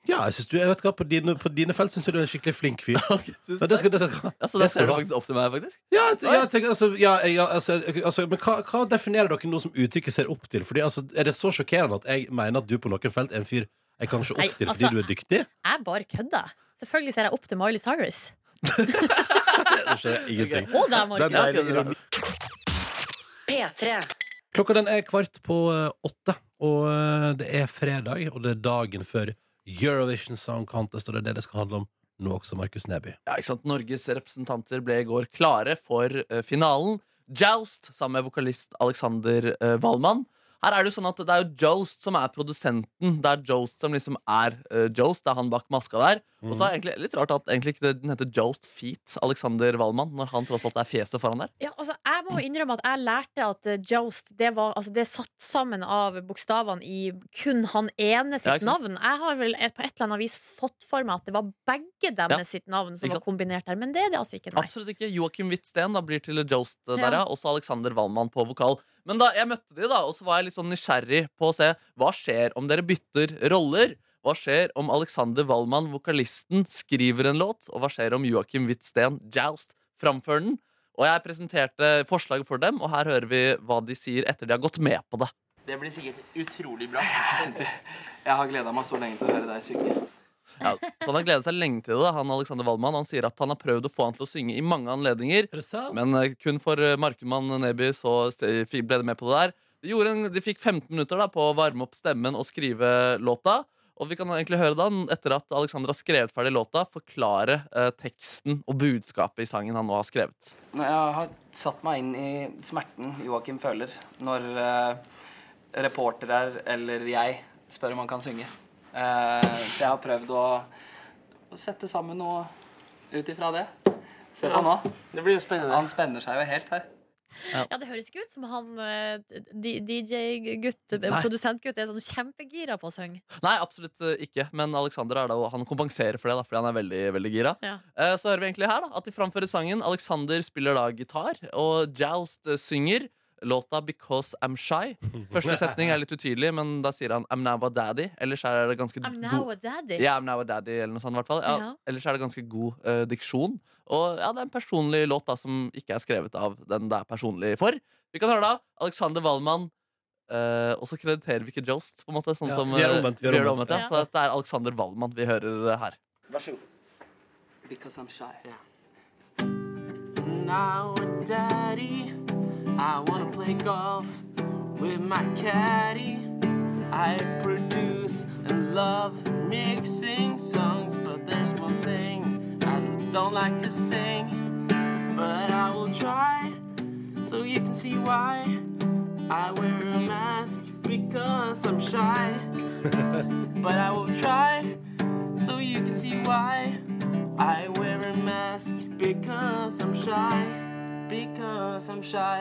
Ja, jeg synes du, jeg vet hva, på dine, på dine felt syns jeg du er en skikkelig flink fyr. Men det skal, det skal,
Ja, så
det
da
skal
ser du
Altså, du ha.
faktisk opp til meg, faktisk.
Ja, jeg- jeg tenker, altså, ja, ja, altså, altså, men hva, hva definerer dere noe som uttrykket ser opp til? Fordi, altså, er det så sjokkerende at jeg mener at du på noen felt er en fyr jeg kan se
Nei,
opp til fordi
altså-
du er dyktig?
Jeg bare kødder. Selvfølgelig ser jeg opp til Miley Cyrus.
Det skjer ingenting.
Og deg,
Den
Markus.
er-
deilige ironien.
P3.
Klokka den er kvart på eh, åtte, og eh, det er fredag, og det er dagen før Eurovision Song Contest, og det er det det skal handle om nå også, Markus Neby.
Ja, ikke sant? Norges representanter ble i går klare for eh, finalen. Joust sammen med vokalist Alexander eh, Wahlmann. Her er Det jo sånn at det er jo Joust som er produsenten. Det er Joust som liksom er eh, Joust. Det er han bak maska der. Og
Mm.
så er det egentlig litt rart at egentlig ikke det- den heter Joust Feet, Alexander Wahlmann, når han tross alt er fjeset foran der.
Ja, altså, jeg må innrømme at jeg lærte at eh, Joust det, var, altså, det er satt sammen av bokstavene i kun han ene
Ja,
sitt
ikke sant?
navn. Jeg har vel et, på et eller annet vis fått for meg at det var begge deres
Ja,
sitt navn som
ikke
var
sant?
kombinert der, men det er det altså ikke. Nei.
Absolutt ikke. Joakim Hvitsten da blir til Jost eh,
Ja.
der, ja. Også Alexander Wallmann på vokal. Men da jeg møtte de, da, og så var jeg litt sånn nysgjerrig på å se hva skjer om dere bytter roller. Hva skjer om Alexander Wallmann, vokalisten, skriver en låt? Og hva skjer om Joakim Hvitsten, Joust, framfører den? Og jeg presenterte forslaget for dem, og her hører vi hva de sier etter de har gått med på det.
Det blir sikkert utrolig bra. Jeg har gleda meg så lenge til å høre deg synge.
Ja, så han har gledet seg lenge til det, han Alexander Wallmann. Han sier at han har prøvd å få han til å synge i mange anledninger. Men eh, kun for eh, Markemann Neby så st- fikk- ble det med på det der. De, gjorde en, de fikk 15 minutter da, på å varme opp stemmen og skrive låta. Og vi kan egentlig høre da, etter at Alexander har skrevet ferdig låta, forklare eh, teksten og budskapet i sangen han nå har skrevet.
Når jeg har satt meg inn i smerten Joakim føler når eh, reportere eller jeg spør om han kan synge. Eh, så jeg har prøvd å, å sette sammen noe ut ifra det. Se på nå.
Det blir jo spennende.
Han spenner seg jo helt her.
Ja, Det høres ikke ut som han eh, D- DJ-gutt, eh, produsentgutt, er sånn kjempegira på å synge.
Nei, absolutt eh, ikke. Men Alexander er da, han kompenserer for det, da, fordi han er veldig veldig gira.
Ja.
Eh, Så hører vi egentlig her da, at de framfører sangen. Alexander spiller da gitar, og Joust eh, synger låta 'Because I'm Shy'. Første setning er litt utydelig, men da sier han 'I'm now a daddy'. Ellers er det ganske
I'm
god-
now a daddy.
ja, I'm now a daddy, eller noe sånt, i hvert fall. Ja,
Ja.
Ellers er det ganske god eh, diksjon. Og ja, det er en personlig låt da, som ikke er skrevet av den det er personlig for. Vi kan høre da Alexander Wallmann, eh, og så krediterer vi ikke Jost, på en måte. Sånn
Ja,
som,
vi er
eh,
omvendt, vi er omvendt.
ja.
Ja.
Så det er Alexander Wallmann vi hører eh, her.
Vær så god. Because I'm shy.
Now, daddy, I wanna play golf with my caddy. I produce and love mixing songs, but there's one thing I don't like to sing. But I will try so you can see why I wear a mask because I'm shy. but I will try so you can see why. I wear a mask because I'm shy. Because I'm shy.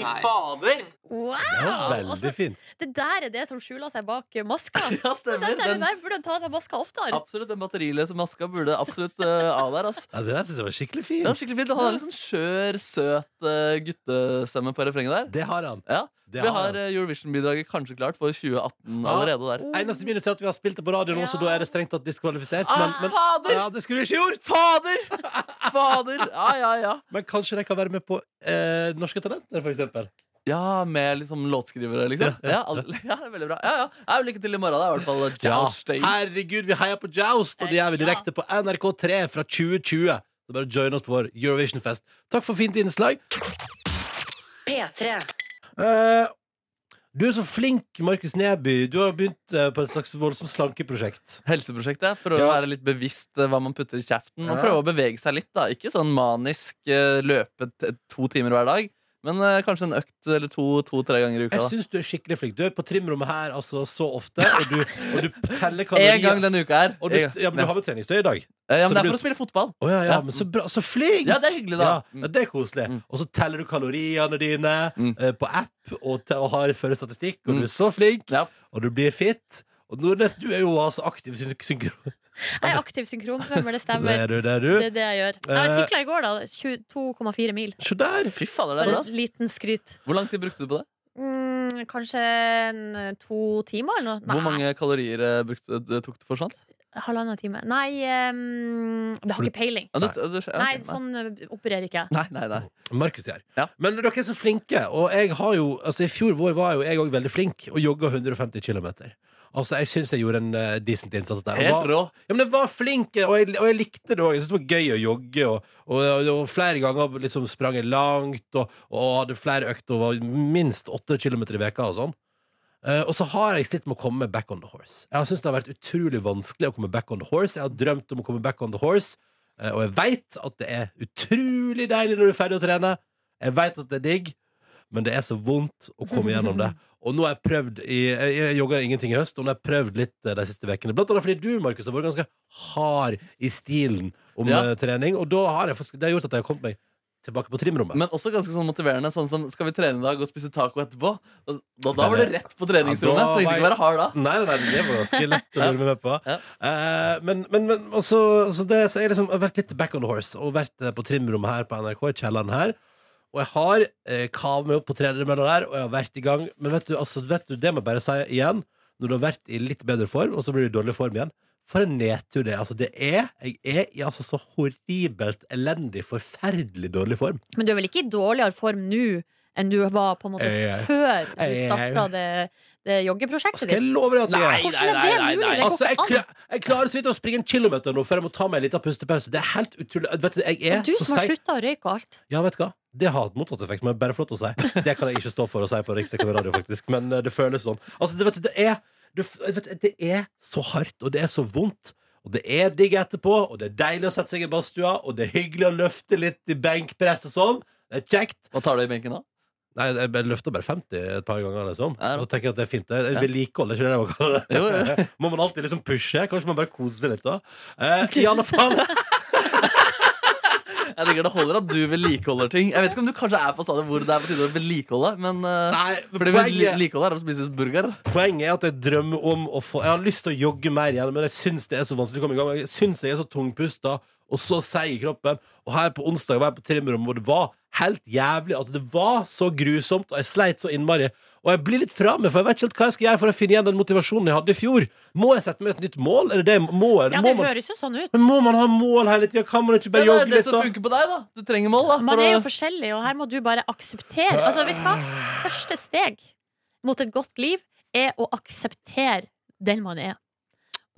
Fy fader!
Wow!
Veldig
Altså,
fint.
det der er det som skjuler seg bak eh, maska.
Ja, stemmer.
Den, der-
Den-
der burde ta seg maska oftere.
Absolutt, Den batteriløse maska burde absolutt eh, av der. ass
Ja, det der syns jeg var skikkelig
Det var
fint.
skikkelig fint. Han har litt sånn skjør, søt eh, guttestemme på refrenget der.
Det har han.
Ja,
Det
Vi
har han.
har eh, Eurovision-bidraget kanskje klart for 2018
Ja.
allerede der.
Eneste minus er at vi har spilt det på radio nå, så da er det strengt tatt diskvalifisert. Men, men,
fader!
ja, det skulle du ikke gjort!
Fader! Fader! Ja, ja, ja.
Men kanskje de kan være med på eh, Norske Talenter, for eksempel.
Ja, med liksom låtskrivere, liksom. Ja, al- ja det er veldig bra. Ja, ja. ja lykke til i morgen, da. I hvert fall Joust Day.
Herregud, vi heier på Joust, og det
Eh,
gjør vi direkte på NRK3 fra 2020. Så bare join oss på vår Eurovision-fest. Takk for fint innslag.
P3.
Eh, du er så flink, Markus Neby. Du har begynt eh, på et slags voldsomt slankeprosjekt.
Helseprosjektet. Prøver å
Ja.
være litt bevisst eh, hva man putter i kjeften. Og
Ja.
prøve å bevege seg litt, da. Ikke sånn manisk eh, løpe t- to timer hver dag. Men eh, kanskje en økt eller to, to-tre ganger i uka.
Jeg
da
syns du er skikkelig flink. Du er på trimrommet her altså, så ofte, og du, og du teller kalorier.
En gang denne uka her.
og du,
En gang.
ja, men du har med treningstøy i dag.
Eh, ja,
så
men det er
blir-
for å spille fotball.
Å ja, ja,
Ja.
men så bra. Så flink!
Ja, det er hyggelig, da.
Ja, ja, det er koselig.
Mm.
Og så teller du kaloriene dine
Mm.
eh, på app og, te- og har fører statistikk, og
Mm.
du er så flink,
Ja.
og du blir fit. Og Nordnes, du er jo altså aktiv syn- synkron...
Jeg er aktiv synkronsvømmer, det
Det
stemmer.
er du, det er
Det
du.
er det jeg gjør. Jeg sykla i går, da. 22,4 mil.
Se der!
Fy fader, det er
Bare
bra.
en liten skryt.
ass. Hvor lang tid brukte du på det?
Mm, kanskje en, eh, to timer eller noe?
Hvor mange kalorier eh, brukte, tok du for sånt?
Halvannen time. Nei, em, det har
For-
ikke peiling.
Ja, du- du- ja,
Nei,
ok,
sånn eh, opererer ikke jeg.
Nei, nei, nei.
Markus her.
Ja.
Men dere er så flinke, og jeg har jo Altså, i fjor vår var jo jeg òg veldig flink og jogga 150 km. Altså, jeg syns jeg gjorde en eh, decent innsats der. og var-
Helt rå.
Ja, men jeg var flink, og jeg, og jeg likte det òg. Jeg syntes det var gøy å jogge. Og, og, og, og flere ganger liksom sprang jeg langt, og, og hadde flere økter og var minst åtte kilometer i veka og sånn. Eh, og så har jeg slitt med å komme back on the horse. Jeg har syntes det har vært utrolig vanskelig å komme back on the horse. Jeg har drømt om å komme back on the horse, eh, og jeg veit at det er utrolig deilig når du er ferdig å trene. Jeg veit at det er digg, men det er så vondt å komme gjennom det. Og nå har jeg prøvd i, Jeg, jeg jogga ingenting i høst, og nå har jeg prøvd litt eh, de siste ukene. Blant annet fordi du, Markus, har vært ganske hard i stilen om
Ja.
eh, trening. Og da har jeg faktisk, det har gjort at jeg har kommet meg tilbake på trimrommet.
Men også ganske sånn motiverende. Sånn som skal vi trene i dag og spise taco etterpå? Da, da, da var du rett på treningsrommet.
Ja, da var
Trengte
jeg-
ikke være hard da.
Nei, nei, nei, det var ganske lett å være med på.
Ja.
Eh, men men, men altså, altså det, så jeg liksom, har vært litt back on the horse og vært eh, på trimrommet her på NRK, i kjelleren her. Og jeg har eh, kavet meg opp på tredjemølla der, og jeg har vært i gang. Men vet du, altså, vet du, det må jeg bare si igjen, når du har vært i litt bedre form, og så blir du i dårlig form igjen. For en nedtur det er. altså, det er. Jeg er i altså så horribelt elendig, forferdelig dårlig form.
Men du er vel ikke i dårligere form nå enn du var på en måte
Jeg er-
før du
jeg er-
starta det, det joggeprosjektet
Skal
ditt?
jeg love deg at jeg er?
Hvordan er det mulig? Det går
Altså, jeg,
ikke an.
kla- jeg klarer så vidt å springe en kilometer nå før jeg må ta meg en liten pustepause. Det er helt utrolig. Vet du, jeg er
Du
så
som har
seig.
slutta å røyke og alt.
Ja, vet du hva? Det har hatt motsatt effekt, men bare flott å si. Det kan jeg ikke stå for å si på Riksdekken radio, faktisk. Men eh, det føles sånn. Altså, det, vet du, det er du, f- vet du, Det er så hardt, og det er så vondt. Og det er digg etterpå, og det er deilig å sette seg i badstua, og det er hyggelig å løfte litt i benkpress og sånn. Det er kjekt.
Hva tar du i benken da?
Nei, jeg bare løfter bare 50 et par ganger, liksom.
Ja,
Så tenker jeg at det er fint. Det er vedlikehold, er ikke det det man kaller det?
Jo, jo.
Må man alltid liksom pushe? Kanskje man bare koser seg litt, da? Eh, I alle fall
Jeg tenker Det holder at du vedlikeholder ting. Jeg vet ikke om du kanskje er på stadiet hvor det er på tide å vedlikeholde, men eh,
Nei,
fordi
poenget-
vedlikeholdet er å spise burger.
Poenget er at jeg drømmer om å få Jeg har lyst til å jogge mer igjen, men jeg syns det er så vanskelig å komme i gang. Jeg syns jeg er så tungpusta og så seig i kroppen. Og her på onsdag var jeg på trimrommet, og det var helt jævlig. Altså, det var så grusomt, og jeg sleit så innmari. Og jeg blir litt fra meg, for jeg vet ikke helt hva jeg skal gjøre for å finne igjen den motivasjonen jeg hadde i fjor. Må jeg sette meg et nytt mål? Er det det jeg må? Eller
Ja,
må
det
man,
høres jo sånn ut.
men må man ha mål hele tida? Kan man ikke
Ja,
bare
det er
jogge
det
litt,
som
da?
funker på deg, da. Du trenger mål. da for
Man er jo
å-
forskjellig, og her må du bare akseptere. Altså, vet du hva? Første steg mot et godt liv er å akseptere den man er.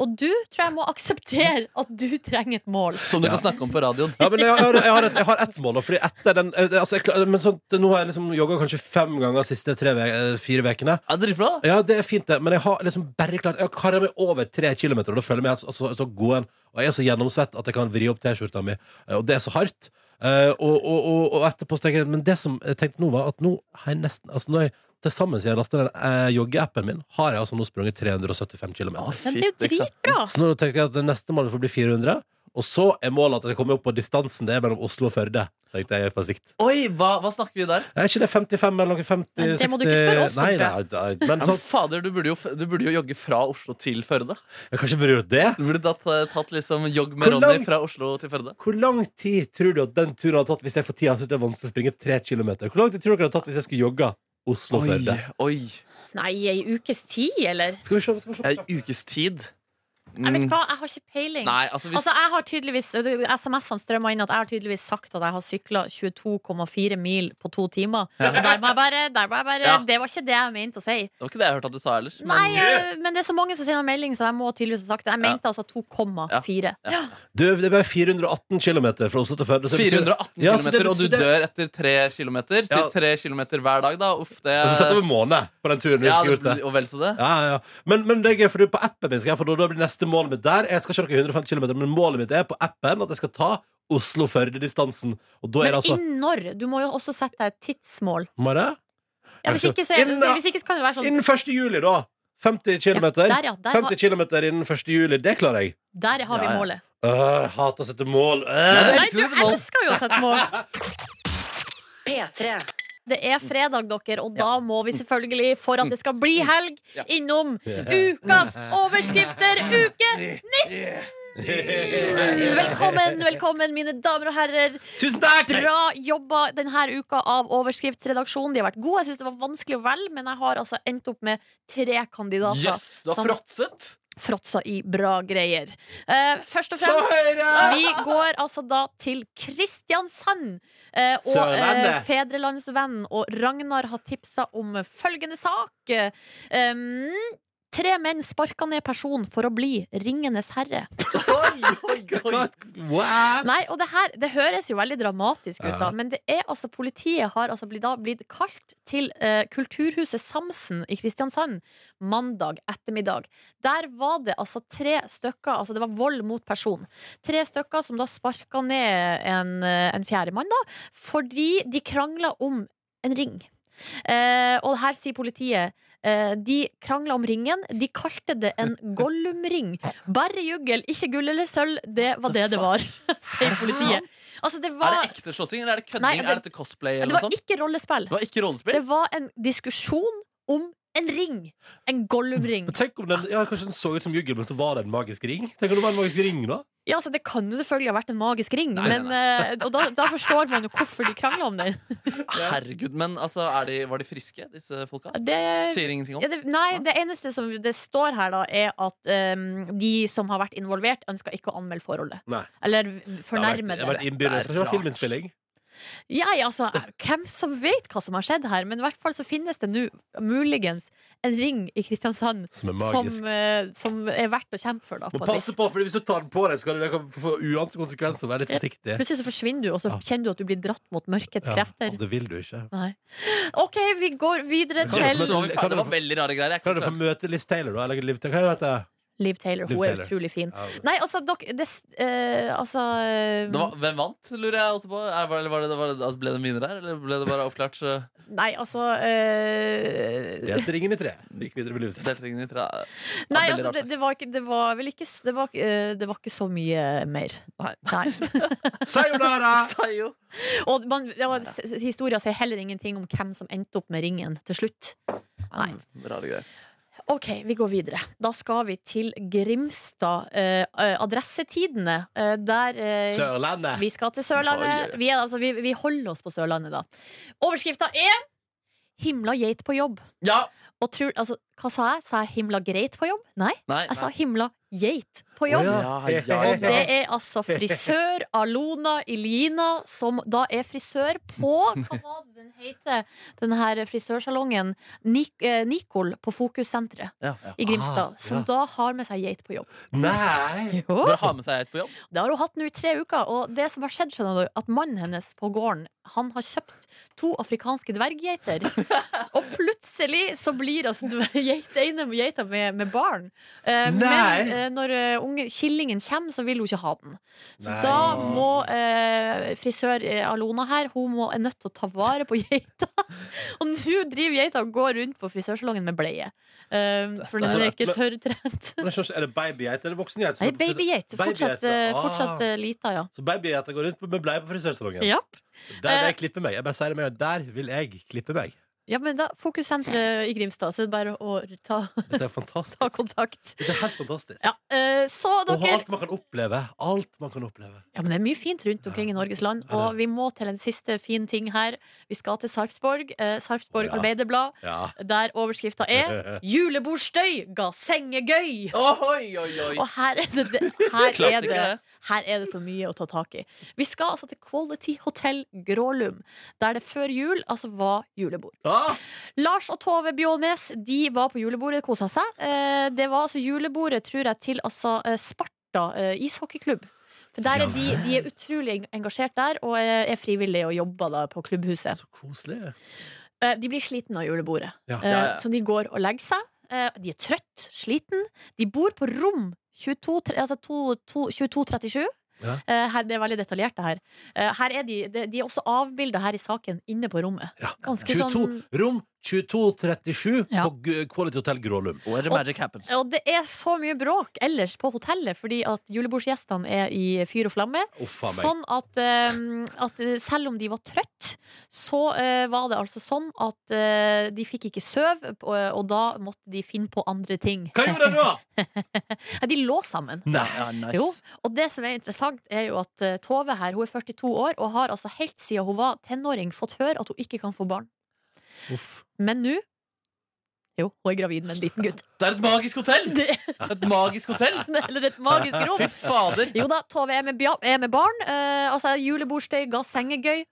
Og du tror jeg må akseptere at du trenger et mål.
Som du kan snakke om på radioen.
Ja, men jeg, har- jeg, har et, jeg har ett mål, da, fordi etter den eh, altså, jeg, klar- Men sånn, nå har jeg liksom jogga kanskje fem ganger de siste tre, ve- eh, fire ukene.
Ja, Dritbra. da.
Ja, det er fint det, men jeg har liksom bare klart Jeg har meg over tre kilometer, og da føler jeg meg altså, altså, så god en Og jeg er så gjennomsvett at jeg kan vri opp t-skjorta mi eh, Og det er så hardt Eh, og, og, og, og etterpå så tenker jeg Men det som jeg tenkte nå var at nå har jeg nesten Altså nå har jeg til sammen siden jeg lastet den eh, joggeappen min Har jeg altså nå sprunget 375 kilometer
Men det er jo
Fytti katta.
dritbra.
Så nå tenker jeg at det neste målet får bli 400 Og så er målet at jeg kommer opp på distansen Det er mellom Oslo og Førde Tenkte jeg på sikt
Oi, hva, hva snakker vi der?
Er ikke det 55 eller noe 50, 60
Men det må du ikke spørre oss om,
Nei,
tror
nei, nei Men
Ja, men
sånn,
Altså, fader, du burde, jo, f- du burde jo jogge fra Oslo til Førde.
jeg kan ikke bry meg om det
Du burde da ta- tatt liksom jogg med
Hvor
Ronny
langt-
fra Oslo til Førde.
Hvor lang tid tror du at den turen hadde tatt hvis jeg for tida synes det er vanskelig å springe tre kilometer? Hvor lang tid tror dere det hadde tatt hvis jeg skulle jogga Oslo-Førde?
oi.
Nei, ei ukes tid, eller?
Skal vi se, skal vi se.
Ei Eh, ukes tid.
Jeg vet
Mm.
hva, jeg har ikke peiling.
Nei, altså hvis
Altså, jeg har tydeligvis SMS-ene strømmer inn at jeg har tydeligvis sagt at jeg har sykla 22,4 mil på to timer. Og Der må jeg bare, der må jeg bare
Ja.
Det var ikke det jeg mente å si.
Det var ikke det jeg hørte at du sa ellers.
Nei, eh, men det er så mange som sender melding, så jeg må tydeligvis ha sagt det. Jeg mente altså 2,4. Ja.
Du, det ble 418 kilometer fra Oslo til Førde. så det betyr-
418
Ja, så det
km, og du
betyr- det-
dør etter 3 km. Si
Ja.
3 km hver dag, da. Uff, det
Du må sette over måned på den turen. hvis
ja,
jeg skulle
det
gjort det.
blir- Og vel så det.
Ja, ja, ja. Men, men det er gøy, for du, på appen min skal jeg få da, da blir neste målet mitt der. Jeg skal ikke noe 150 km, men målet mitt er på appen at jeg skal ta Oslo-Førde-distansen. Og da er det
Men
altså
innen når? Du må jo også sette deg et tidsmål.
Må jeg det?
Ja, hvis, ikke, så er, det-
Innen-
hvis ikke så kan det være sånn
Innen 1. juli, da. 50
ja,
km.
Der, ja. Der,
50
har-
km innen 1. juli. Det klarer jeg.
der har vi
Ja, ja.
målet.
Øh, hater å sette mål.
Ja,
Øh.
det-
Nei,
elsker
du
å sette mål.
elsker jo å sette mål.
P3.
Det er fredag, dere, og da må vi selvfølgelig, for at det skal bli helg,
Ja.
innom ukas overskrifter, uke 19! Velkommen, velkommen, mine damer og herrer.
Tusen takk!
Bra jobba denne uka av overskriftsredaksjonen. De har vært gode. Jeg syns det var vanskelig å velge, men jeg har altså endt opp med tre kandidater
Jøss, du har
som
fråtset!
fråtsa i bra greier. Eh, først og fremst vi går altså da til Kristiansand. eh, og eh,
Sørlandet.
fedrelandsvenn og Ragnar har tipsa om følgende sak. Um, tre menn sparka ned person for å bli Ringenes herre.
Oi, oi, oi.
What?
Nei, og det her det høres jo veldig dramatisk ut, da,
Ja.
men det er altså politiet har altså blitt, da, blitt kalt til eh, Kulturhuset Samsen i Kristiansand mandag ettermiddag. Der var det altså tre stykker, altså det var vold mot person. Tre stykker som da sparka ned en, eh, en fjerdemann, da, fordi de krangla om en ring. Eh, og her sier politiet eh, de krangla om ringen. De kalte det en Gollum-ring. Bare juggel, ikke gull eller sølv. Det var det det var, sier politiet. Altså, det
Er
var,
det ekte slåssing, eller er det kødding?
Nei, det-
Er dette cosplay,
det
eller noe
var
sånt?
ikke rollespill.
Det var ikke rollespill?
Det var en diskusjon om en ring. En Gollum-ring.
Men Tenk om den, ja, Kanskje den så ut som juggel, men så var det en magisk ring? Tenk om det var en magisk ring da
Ja, altså, det kan jo selvfølgelig ha vært en magisk ring,
Nei, nei,
men, eh, og da, da forstår man jo hvorfor de krangla om den.
Herregud, men altså, er de, var de friske, disse folka?
Det
Sier ingenting om.
Ja, det, nei, det eneste som det står her, da, er at ehm, de som har vært involvert, ønsker ikke å anmelde forholdet.
Nei.
Eller fornærme
Fornærmet.
det.
Det skal ikke være filminnspilling.
Jeg, altså, hvem som vet hva som har skjedd her, men i hvert fall så finnes det nå muligens en ring i Kristiansand
Som er
som,
magisk.
eh, som er verdt å kjempe for. Da,
Må
på et
passe
vis.
på, for Hvis du tar den på deg, så kan det kan få uante konsekvenser. Vær litt forsiktig.
Plutselig så forsvinner du, og så
Ja.
kjenner du at du blir dratt mot mørkets
Ja,
krefter.
og det vil du ikke.
Nei. OK, vi går videre
Kan
Jøss,
til
så var vi ferdig. Det var veldig rare greier. Jeg
Klarer du å
klarte-
få møte Liz Taylor, da? Eller Liv Taylor? Hva heter det?
Liv Taylor.
Liv
Hun er
Taylor.
utrolig fin.
Ja.
Nei, altså, dok, det, s- eh, altså eh,
Det var, hvem vant, lurer jeg også på? Er, var, det- var det, var det, altså, ble det mine der, eller ble det bare oppklart? eh,
Nei, altså eh,
Delt ringen i tre. Gikk videre med livet.
deltakerne i tre? Ja,
Nei,
veldig
altså,
rart
det, det, var ikke, det var vel ikke s- Det var, eh, det var ikke så mye mer.
Nei.
Sayonara!
Sayo.
Og man, det var, s- s- historia sier heller ingenting om hvem som endte opp med ringen til slutt. Nei.
Rare greier.
Ok, vi går videre. Da skal vi til Grimstad. eh, eh, adressetidene, eh, der eh,
Sørlandet.
Vi skal til
Oi,
Sørlandet.
oi, oi.
Vi, er, altså, vi, vi holder oss på Sørlandet, da. Overskrifta er 'Himla geit på jobb'.
Ja!
Og tror, altså, hva sa jeg? Sa jeg 'himla greit på jobb'? Nei,
Nei.
jeg sa 'himla geit på jobb'.
Ja, ja, ja.
Og det er altså frisør Alona Ilina, som da er frisør på Hva var det den heter? Den her frisørsalongen Nik eh, Nikol på Fokussenteret
Ja.
i Grimstad.
Ah,
Som
ja.
da har med seg geit på jobb.
Nei!
Bare ha med seg geit på jobb.
Det har hun hatt nå i tre uker, og det som har skjedd, skjønner du, at mannen hennes på gården, han har kjøpt to afrikanske dverggeiter. og plutselig så blir altså dver- geit- ene geita med, med barn. Eh,
Nei.
men eh, når eh, unge, killingen kommer, så vil hun ikke ha den. Så
Nei.
da må eh, frisør eh, Alona her, hun må, er nødt til å ta vare på geita. og nå driver geita og går rundt på frisørsalongen med bleie. Eh, for den er ikke tørrtrent.
Men jeg skjønner ikke, Er det babygeit eller voksengeit? som
Nei,
er på frisør-
babygeit. Fortsatt,
Babygeiter.
eh, fortsatt
Ah.
eh, lita, ja.
Så babygeiter går rundt med bleie på frisørsalongen?
Ja.
Der vil jeg klippe meg. Jeg bare sier det med en gang. Der vil jeg klippe meg.
Ja, men da Fokussenteret i Grimstad, så er det bare å ta,
Dette
ta
er fantastisk.
kontakt.
Dette er helt fantastisk.
Ja, eh, så
Og
dere
alt man kan oppleve. Alt man kan oppleve.
Ja, men Det er mye fint rundt omkring i Norges land, og vi må til en siste fin ting her. Vi skal til Sarpsborg. Eh, Sarpsborg
Ja.
Arbeiderblad,
Ja.
der overskrifta er 'Julebordstøy ga sengegøy'.
Oi, oi, oi.
Og her er det, her er
Klassiker,
det,
det.
her er det så mye å ta tak i. Vi skal altså til Quality Hotel Grålum, der det før jul altså var julebord.
Ah,
Lars og Tove Bjånes De var på julebordet og kosa seg. Eh, Det var altså julebordet, tror jeg, til altså eh, Sparta eh, ishockeyklubb. For der er de, de er utrolig eng- engasjert der og eh, er frivillige og jobber da på klubbhuset.
så koselig.
Eh, De blir slitne av julebordet,
Ja.
Eh,
Ja, ja.
så de går og legger seg. Eh, De er trøtt, sliten. De bor på rom 22, tre- altså to- to- 2237.
Ja.
Eh, Her, det er veldig detaljert, det her. Eh, her er de, de, de er også avbilda her i saken, inne på rommet.
Ja.
Ganske
22,
sånn-
Rom 2237
Ja.
på Gu- Quality Hotel Grålum.
Where the magic happens.
Og det er så mye bråk ellers på hotellet fordi at julebordsgjestene er i fyr og flamme.
Å, faen meg.
Sånn at, eh, at eh, selv om de var trøtt, så eh, var det altså sånn at eh, de fikk ikke søv, og, og da måtte de finne på andre ting.
Hva gjorde jeg da?!
Nei, de lå sammen.
Nei.
Ja, nice.
Jo, og det som er interessant, er jo at eh, Tove her, hun er 42 år, og har altså helt siden hun var tenåring fått høre at hun ikke kan få barn.
Uff.
Men nå Jo, hun er gravid med en liten gutt.
Det er et magisk hotell!
Det-
Et magisk hotell!
Eller et magisk rom.
Fy fader.
Jo da, Tove er med, bja- er med barn. eh, altså Julebordstøy ga sengegøy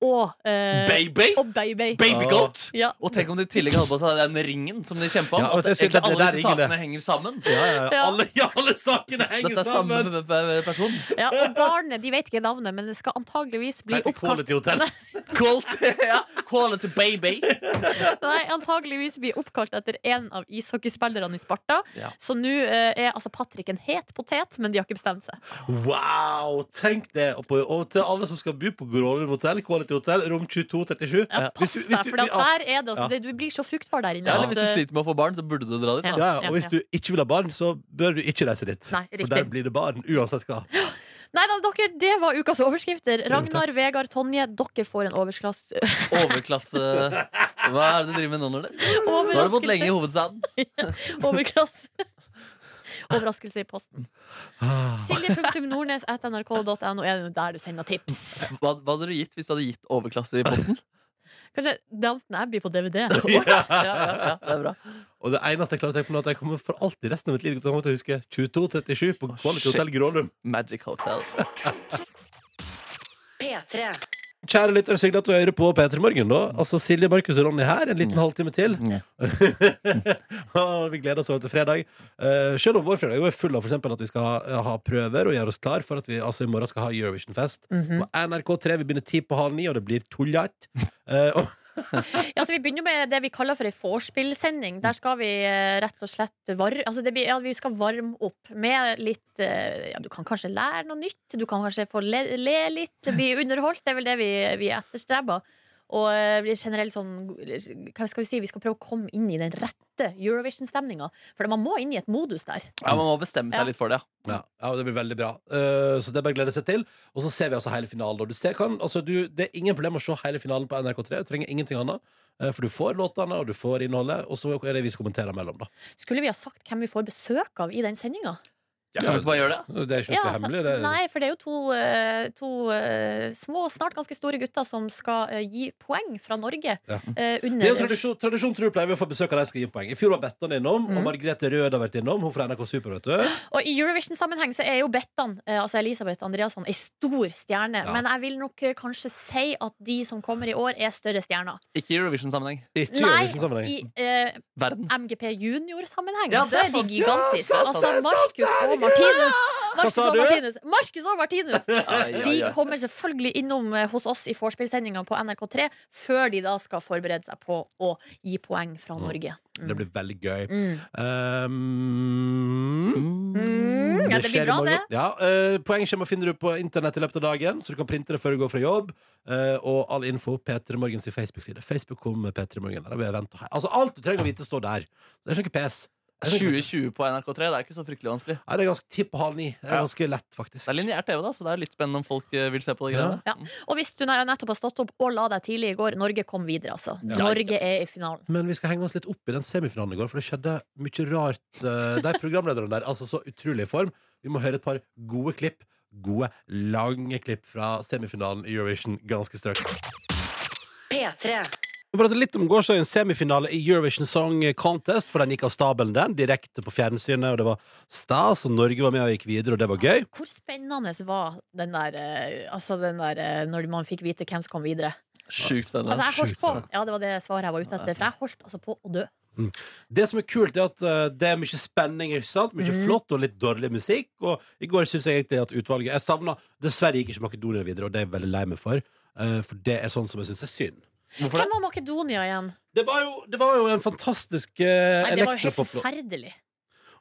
og eh,
Baby!
Og baby.
Babygoat!
Ja.
Og tenk om de i tillegg hadde på seg den ringen som de kjempa om.
Ja, og
at
jeg
egentlig
synes at det
alle
der
disse
ringen, det.
sakene henger sammen.
Ja, ja, ja.
Ja.
Alle, ja, alle sakene henger
Dette er samme
sammen!
p- p- person.
ja, og barnet de vet ikke navnet, men det skal antageligvis bli
Nei, til
oppkalt
Quality Hotel.
Quality, ja. Quality baby.
Nei, antageligvis blir oppkalt etter en av ishockeyspillerne i Sparta.
Ja.
Så nå eh, er altså Patrick en het potet, men de har ikke bestemt seg.
Wow! Tenk det. Og, på, og til alle som skal bo på Grålum hotell, Quality Hotel, rom 2237
Ja, pass
Hvis
deg,
du- hvis du-
for at
ja.
der er det, altså,
Ja.
det Du blir så fruktbar der inne.
Ja, eller hvis du
at, eh,
sliter med å få barn, så burde du dra dit.
ja,
Da.
ja, og hvis du ikke vil ha barn, så bør du ikke reise dit.
Nei,
For
riktig.
der blir det barn uansett hva.
Nei da, dere, det var ukas overskrifter.
takk.
Ragnar, Vegard, Tonje, dere får en overklass...
Overklasse Hva er det du driver med nå, Nordnes? Nå har du bodd lenge i
overraskelse.
hovedstaden.
Overklasse. Overraskelse i posten.
Ah.
Silje.nordnes.nrk.no er jo der du sender tips.
Hva, hva hadde du gitt hvis du hadde gitt overklasse i posten?
Kanskje Downton Abbey på DVD.
Ja, ja, ja, det er bra
Og det eneste jeg klarer å tenke på nå, er at jeg kommer for alltid resten av mitt liv til å komme til å huske 2237 på Quality
shit.
Hotel Grålum.
Magic Hotel.
P3.
Kjære lyttere, så hyggelig at du hører på P3 Morgen, da. Altså Silje, Markus og Ronny her, en liten halvtime til.
Ja.
Og vi gleder oss over til fredag. Eh, selv om vår fredag jo er full av for eksempel at vi skal ha, ha prøver og gjøre oss klar for at vi altså i morgen skal ha Eurovision-fest. På NRK3 vi begynner ti på halv ni, og det blir tullete. Eh, og
Ja, så vi begynner med det vi kaller for ei vorspiel-sending. Der skal vi eh, rett og slett var altså det blir, ja, vi skal varme opp med litt eh, ja, Du kan kanskje lære noe nytt, du kan kanskje få le, le litt, bli underholdt. Det er vel det vi, vi etterstreber. Og eh, blir generelt sånn Hva skal vi si? Vi skal prøve å komme inn i den rette Eurovision-stemninga. For man må inn i et modus der.
Ja, Man må bestemme
Ja.
seg litt for det. ja.
Ja, ja det blir veldig bra. Eh, så det er bare å glede seg til. Og så ser vi altså hele finalen. Og du ser, kan, altså, du, det er ingen problem å se hele finalen på NRK3. Du trenger ingenting annet. eh, for du får låtene, og du får innholdet, og så er det vi som kommenterer mellom, da.
Skulle vi ha sagt hvem vi får besøk av i den sendinga?
Kan vi ikke bare gjøre det?
Det er ikke noe hemmelig. Det,
Nei, for det er jo to, eh, to eh, små, snart ganske store gutter som skal eh, gi poeng fra Norge.
Ja.
eh, under
det er jo tradisjon, tradisjon tror jeg pleier vi å få besøk av de som skal gi poeng. I fjor var Bettan innom, og
Mm.
Margrethe Rød har vært innom. Hun fra NRK Super, vet du.
Og i Eurovision-sammenheng så er jo Bettan, eh, altså Elisabeth Andreasson, ei stor stjerne.
Ja.
Men jeg vil nok eh, kanskje si at de som kommer i år, er større stjerner.
Ikke i Eurovision-sammenheng.
Ikke i
Nei,
Eurovision-sammenheng.
i eh,
Verden.
MGP junior-sammenheng
Ja, det
så
er
er de
sant.
gigantiske.
Ja, sant,
altså
det er sant,
Markus og Martinus. Markus
sa
og
du?
Martinus. Markus og Martinus.
Ai, ai,
De
ai.
kommer selvfølgelig innom eh, hos oss i vorspielsendinga på NRK3 før de da skal forberede seg på å gi poeng fra
Mm.
Norge.
Det blir veldig gøy.
Mm.
Um,
Mm, ja, det
skjer i
blir bra,
morgen.
det.
Ja, eh, Poengskjema finner du på internett i løpet av dagen, så du kan printe det før du går fra jobb. Eh, og all info P3 Morgens i Facebook-side. Facebook kom med P3 Morgen. Der vil jeg vente og hei. Altså, alt du trenger å vite, står der. Det er ikke pes. Det er ikke-
2020 på NRK3, det er ikke så fryktelig vanskelig.
Nei, det er ganske tipp og halv ni. Det er
Ja.
ganske lett, faktisk.
Det er lineær TV, da, så det er litt spennende om folk eh, vil se på det
Ja.
greiene.
Ja. Og hvis du nær- nettopp har stått opp og la deg tidlig i går, Norge kom videre, altså. Norge er i finalen.
Men vi skal henge oss litt opp i den semifinalen i går, for det skjedde mye rart. eh, De programlederne der, altså så utrolig i form. Vi må høre et par gode klipp. Gode, lange klipp fra semifinalen i Eurovision ganske straks.
P3.
Vi prater litt om gårsdagens semifinale i Eurovision Song Contest, for den gikk av stabelen, den, direkte på fjernsynet, og det var stas, og Norge var med og gikk videre, og det var gøy.
Hvor spennende var den der, eh, altså den der eh, når man fikk vite hvem som kom videre?
Sjukt spennende.
Altså, jeg holdt
sjukt
på,
bra.
ja, det var det svaret jeg var ute etter, for jeg holdt altså på å dø.
Det som er kult, er at eh, det er mye spenning, ikke sant? Mye
Mhm.
flott og litt dårlig musikk, og i går synes jeg egentlig at utvalget Jeg savna Dessverre gikk ikke Makedonia videre, og det er jeg veldig lei meg for, eh, for det er sånn som jeg synes er synd.
Hvorfor det?
Hvem var Makedonia igjen?
Det var jo, det var jo en fantastisk uh,
Nei, det var jo helt
elektropop-låt.
forferdelig.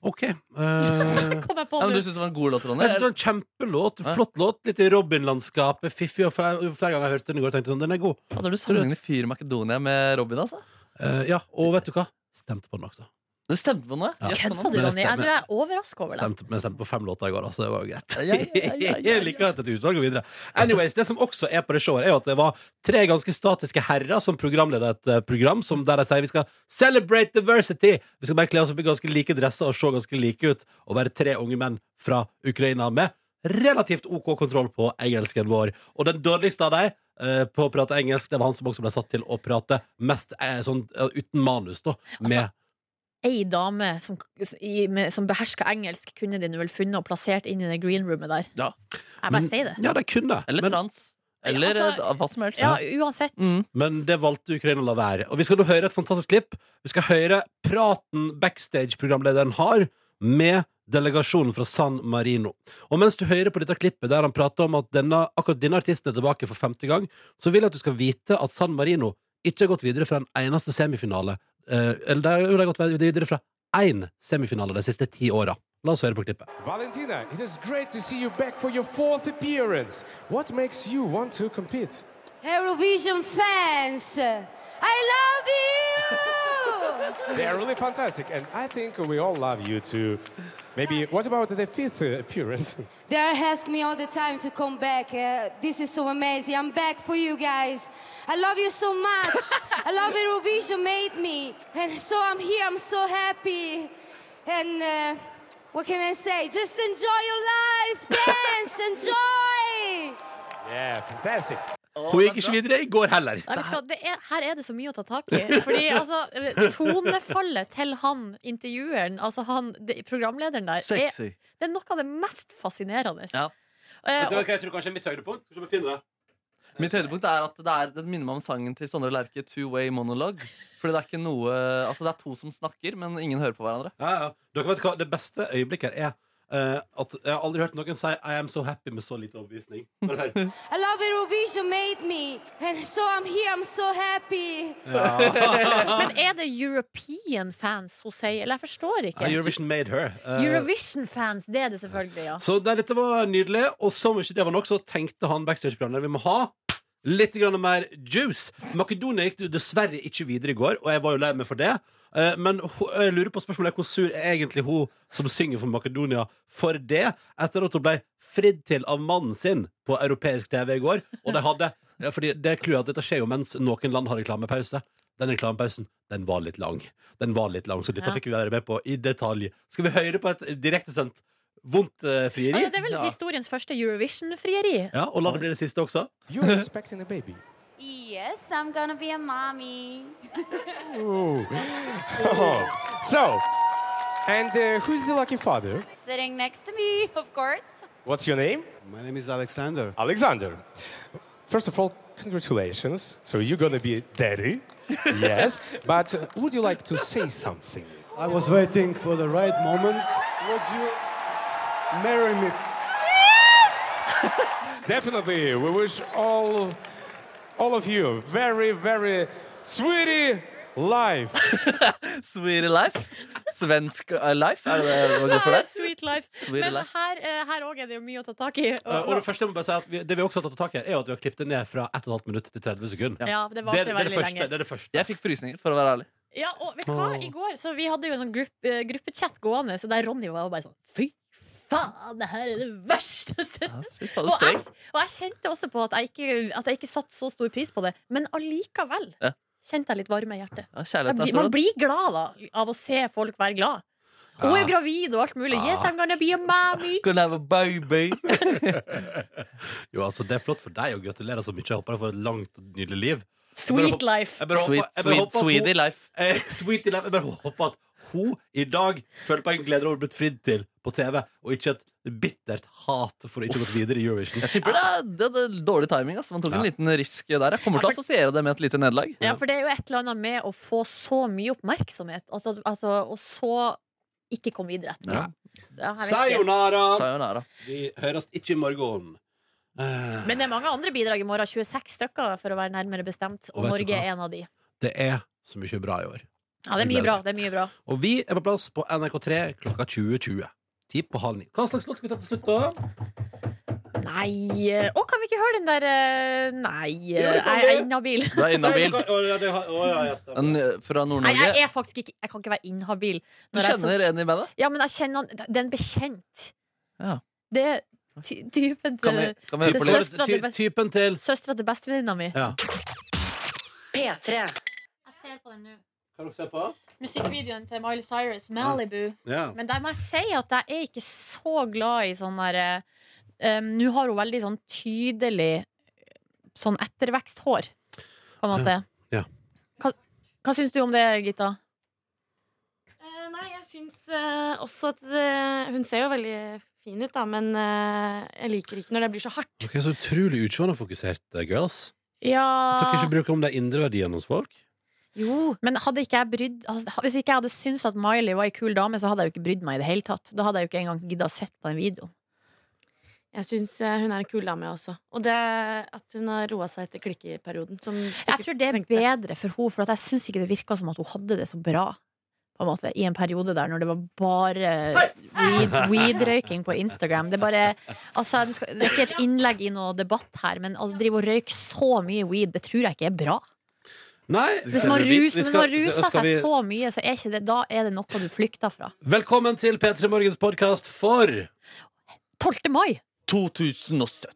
OK. eh,
Kom jeg på
Ja, men
nå.
du syns det var en god låt, Ronny?
Jeg synes det var en kjempelåt.
Ja.
Flott låt. Litt i Robin-landskapet. Fiffig. Og flere, flere ganger jeg hørte den i går, tenkte jeg sånn, den er god.
Fader, du sammenligner Fyr Makedonia med Robin, altså?
Eh, ja, Og vet du hva? Stemte på den også.
Du stemte på noe?
Ja.
Jøss, sånn,
Kødda du,
Men det
Ronny? Jeg, nå
stemmer.
er jeg overraska over deg.
Stemte, men stemte på fem låter i går, da, så det var jo greit.
Ja, ja, ja, ja, ja.
Jeg liker at et utvalg går videre. Anyways, Det som også er på det showet, er jo at det var tre ganske statiske herrer som programleder et eh, program som der de sier vi skal celebrate diversity. Vi skal bare kle oss opp i ganske like dresser og se ganske like ut og være tre unge menn fra Ukraina med relativt OK kontroll på engelsken vår. Og den dårligste av dem eh, på å prate engelsk, det var han som også ble satt til å prate mest eh, sånn eh, uten manus, da.
Altså,
Med
Ei dame som, i, med, som behersker engelsk, kunne de nå vel funnet og plassert inn i det greenroomet der.
Ja.
Jeg bare
Men-
sier det.
Ja, de kunne.
Eller
men-
trans. Eller
Ja, altså-
eh, hva som helst.
Ja, uansett.
Mm.
Men det valgte Ukraina å la være. Og vi skal nå høre et fantastisk klipp. Vi skal høre praten backstage-programlederen har med delegasjonen fra San Marino. Og mens du hører på dette klippet der han prater om at denne, akkurat denne artisten er tilbake for femte gang, så vil jeg at du skal vite at San Marino ikke har gått videre fra en eneste semifinale. Eh, eller det har jo de har gått videre fra én semifinale de siste ti åra. La oss høre på klippet.
Valentina, it is great to see you back for your fourth appearance. What makes you want to compete?
Eurovision fans, I love you!
They are really fantastic, and I think we all love you too. Maybe, what about the fifth uh, appearance?
they are asking me all the time to come back. Uh, this is so amazing. I'm back for you guys. I love you so much. I love Eurovision made me. And so I'm here. I'm so happy. And uh, what can I say? Just enjoy your life. Dance. enjoy.
Yeah, fantastic.
Hun gikk ikke videre i går heller.
Nei, vet du hva, det er, her er det så mye å ta tak i. Fordi altså, tonefallet til han intervjueren, altså han det- programlederen der, er,
Sexy.
det er noe av det mest fascinerende.
Ja.
Eh, og-
jeg tror kanskje er mitt høydepunkt. Skal vi finne det?
Mitt høydepunkt er at det, er, det minner meg om sangen til Sondre Lerche, Two Way Monologue. Fordi det er ikke noe Altså, det er to som snakker, men ingen hører på hverandre.
Ja, ja. Dere vet hva, Det beste øyeblikket er eh, at jeg har aldri hørt noen si I am so happy med så lite overbevisning. Bare hør.
I love Eurovision made me, and so I'm here, I'm so happy.
Men er det European fans hun sier? Eller jeg forstår
Ah,
ikke.
Eurovision made her. Eh,
Eurovision-fans, det er det selvfølgelig, ja.
så der, dette var nydelig, og som ikke det var nok, så tenkte han backstage-programlederen vi må ha litt grann mer juice. Makedonia gikk jo dessverre ikke videre i går, og jeg var jo lei meg for det. Eh, Men ho- jeg lurer på spørsmålet hvor sur er egentlig hun som synger for Makedonia, for det, etter at hun ble fridd til av mannen sin på europeisk TV i går, og de hadde ja, fordi det er clouet at dette skjer jo mens noen land har reklamepause. Den reklamepausen den var litt lang, Den var litt lang så dette
Ja.
fikk vi være med på i detalj. Skal vi høre på et direktesendt vondt eh, frieri?
Ja, det er vel historiens første Eurovision-frieri.
Ja, Og la det bli det siste også.
You're expecting a baby.
Yes, I'm gonna be a mommy.
So, and uh, who's the lucky father?
Sitting next to me, of course.
What's your name?
My name is Alexander.
Alexander. First of all, congratulations. So you're gonna be daddy. yes. But uh, would you like to say something?
I was waiting for the right moment. Would you marry me?
Definitely. We wish all all of you very, very sweetie life.
Sweetie life. Svensk eh, life, er det det går for deg?
Sweet life.
Sweet
Men
life.
her eh, her òg er det jo mye å ta tak i.
Eh, Og Det første jeg må bare si at vi, Det vi også har tatt tak i, her er jo at vi har klippet det ned fra 1 12 minutt til 30 sekunder.
Ja, det
Det,
varte
er- det, er det,
veldig
første,
lenge.
det er det første.
Jeg fikk frysninger, for å være ærlig.
Ja, og vet du hva? I går, så Vi hadde jo en sånn grupp- eh, gruppechat gående, så der Ronny var jo bare sånn Fy faen, det her er det verste jeg har sett!
Fy faen,
Og jeg,
streng.
og jeg kjente også på at jeg, ikke, at jeg ikke satte så stor pris på det, men allikevel
Ja.
kjente jeg litt varme i hjertet.
Ja,
Jeg
kjærlighet er
blir,
så
man
råd.
blir glad da av å se folk være glad. Hun er jo gravid og alt mulig.
Ah.
Yes, I'm gonna be a mommy.
Gonna have a baby.
Jo, altså, Det er flott for deg, og gratulerer så mye. Jeg håper du får et langt og nydelig liv.
Sweet life.
Jeg bare håper-
Sweet,
jeg bare
sweet,
håper at hun-
sweetie life.
Eh, Sweet Eleven. Jeg bare håper at hun i dag føler på en glede over å ha blitt fridd til på TV, og ikke et bittert hat for å ikke ha gått videre i Eurovision.
Jeg tipper det er, det er dårlig timing. ass. Man tok en liten risk der. Jeg kommer til å assosiere det med et lite nederlag.
Ja, for det er jo et eller annet med å få så mye oppmerksomhet, altså, altså, og så ikke komme videre etterpå.
Ja.
Ja, jeg vet ikke.
Sayonara!
Sayonara.
Vi høres ikke i morgen. Eh,
Men det er mange andre bidrag i morgen. 26 stykker, for å være nærmere bestemt. Og,
Og vet du
Norge
hva?
er en av de.
Det er så mye bra i år.
Ja, det er mye bra.
altså.
Det er mye bra.
Og vi er på plass på NRK3 klokka 20.20. Ti på halv ni. Hva slags låt skal vi ta til slutt, da?
Nei eh, Å, kan vi ikke høre den der eh, Nei, eh, jeg er inhabil.
Du er inhabil.
Å, ja, det har- å, ja, ja, stemmer.
En eh, fra
Nei, jeg
Nord-Norge.
er faktisk ikke Jeg kan ikke være inhabil.
Du
når jeg er så-
kjenner en i bandet?
Ja, men jeg kjenner han Det er en bekjent.
Ja.
Det er ty typen
Kan vi,
til
kan vi høre
Det
på litt?
er søstera til
Ty- Typen til
Søstera til bestevenninna mi.
Ja.
P3.
Jeg ser på den nå.
Kan dere se på?
Musikkvideoen til Miley Cyrus, 'Malibu'.
Ja.
Men der må jeg si at jeg er ikke så glad i sånn der eh, um, Nå har hun veldig sånn tydelig sånn etterveksthår, på en måte.
Ja.
Hva, hva syns du om det, Gitta?
Eh, nei, jeg syns eh, også at det, Hun ser jo veldig fin ut, da, men eh, jeg liker ikke når det blir så hardt.
Dere er så utrolig utseendefokusert, girls.
Ja
Dere ikke bruker om de indre verdiene hos folk?
Jo.
Men hadde ikke jeg brydd altså, Hvis ikke jeg hadde syntes at Miley var ei kul dame, så hadde jeg jo ikke brydd meg i det hele tatt. Da hadde jeg jo ikke engang gidda å sett på den videoen.
Jeg syns eh, hun er en kul dame, jeg også. Og det at hun har roa seg etter klikkeperioden. Som
Jeg tror det er bedre for henne, for at jeg syns ikke det virka som at hun hadde det så bra. På en måte, I en periode der når det var bare weed- weed-røyking på Instagram. Det er bare Altså, du skal- det er ikke et innlegg i noe debatt her, men å drive og røyke så mye weed, det tror jeg ikke er bra.
Nei.
Hvis man, rus,
Vi
hvis
skal-
man ruser
skal vi-
seg så mye, så er ikke det, da er det noe du flykter fra.
Velkommen til P3 Morgens podkast for
12. mai!
2017.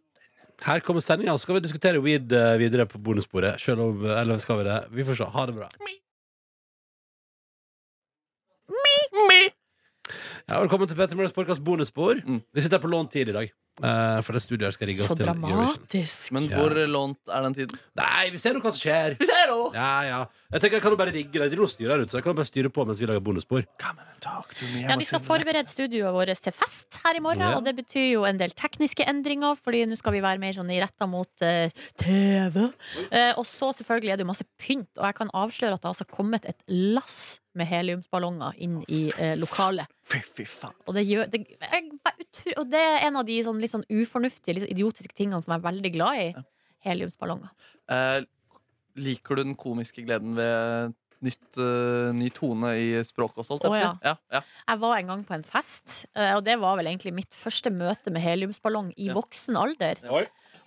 Her kommer sendinga, og så skal vi diskutere weed eh, videre på bonusbordet. Selv om eh, Eller skal vi det? Vi får se. Ha det bra. Ja, velkommen til P3 Morgens podkast bonusbord.
Mm.
Vi sitter her på lånt tid i dag. Eh, for det studioet her skal rigge oss
Så
til Eurovision.
dramatisk.
Men
Ja.
hvor lånt er den tiden?
Nei, vi ser jo hva som skjer.
Vi ser jo!
Ja, ja. Jeg tenker jeg kan jo bare rigge det. Det er noe styr her ute, så jeg kan jo bare styre på mens vi lager bonusspor.
Ja, vi skal forberede studioet vårt til fest her i morgen,
Ja.
og det betyr jo en del tekniske endringer, fordi nå skal vi være mer sånn i retta mot eh, TV. Eh, og så selvfølgelig er det jo masse pynt, og jeg kan avsløre at det har altså kommet et lass med heliumsballonger inn i eh, lokalet.
Fy, fy faen.
Og det, gjør, det, jeg, er utro- og det er en av de sånn, litt sånn ufornuftige, litt sånn idiotiske tingene som jeg er veldig glad i. Heliumsballonger.
Eh, liker du den komiske gleden ved nytt, eh, ny tone i språket også?
Å,
holdt jeg på å si? ja, ja.
Jeg var en gang på en fest, eh, og det var vel egentlig mitt første møte med heliumsballong i voksen alder.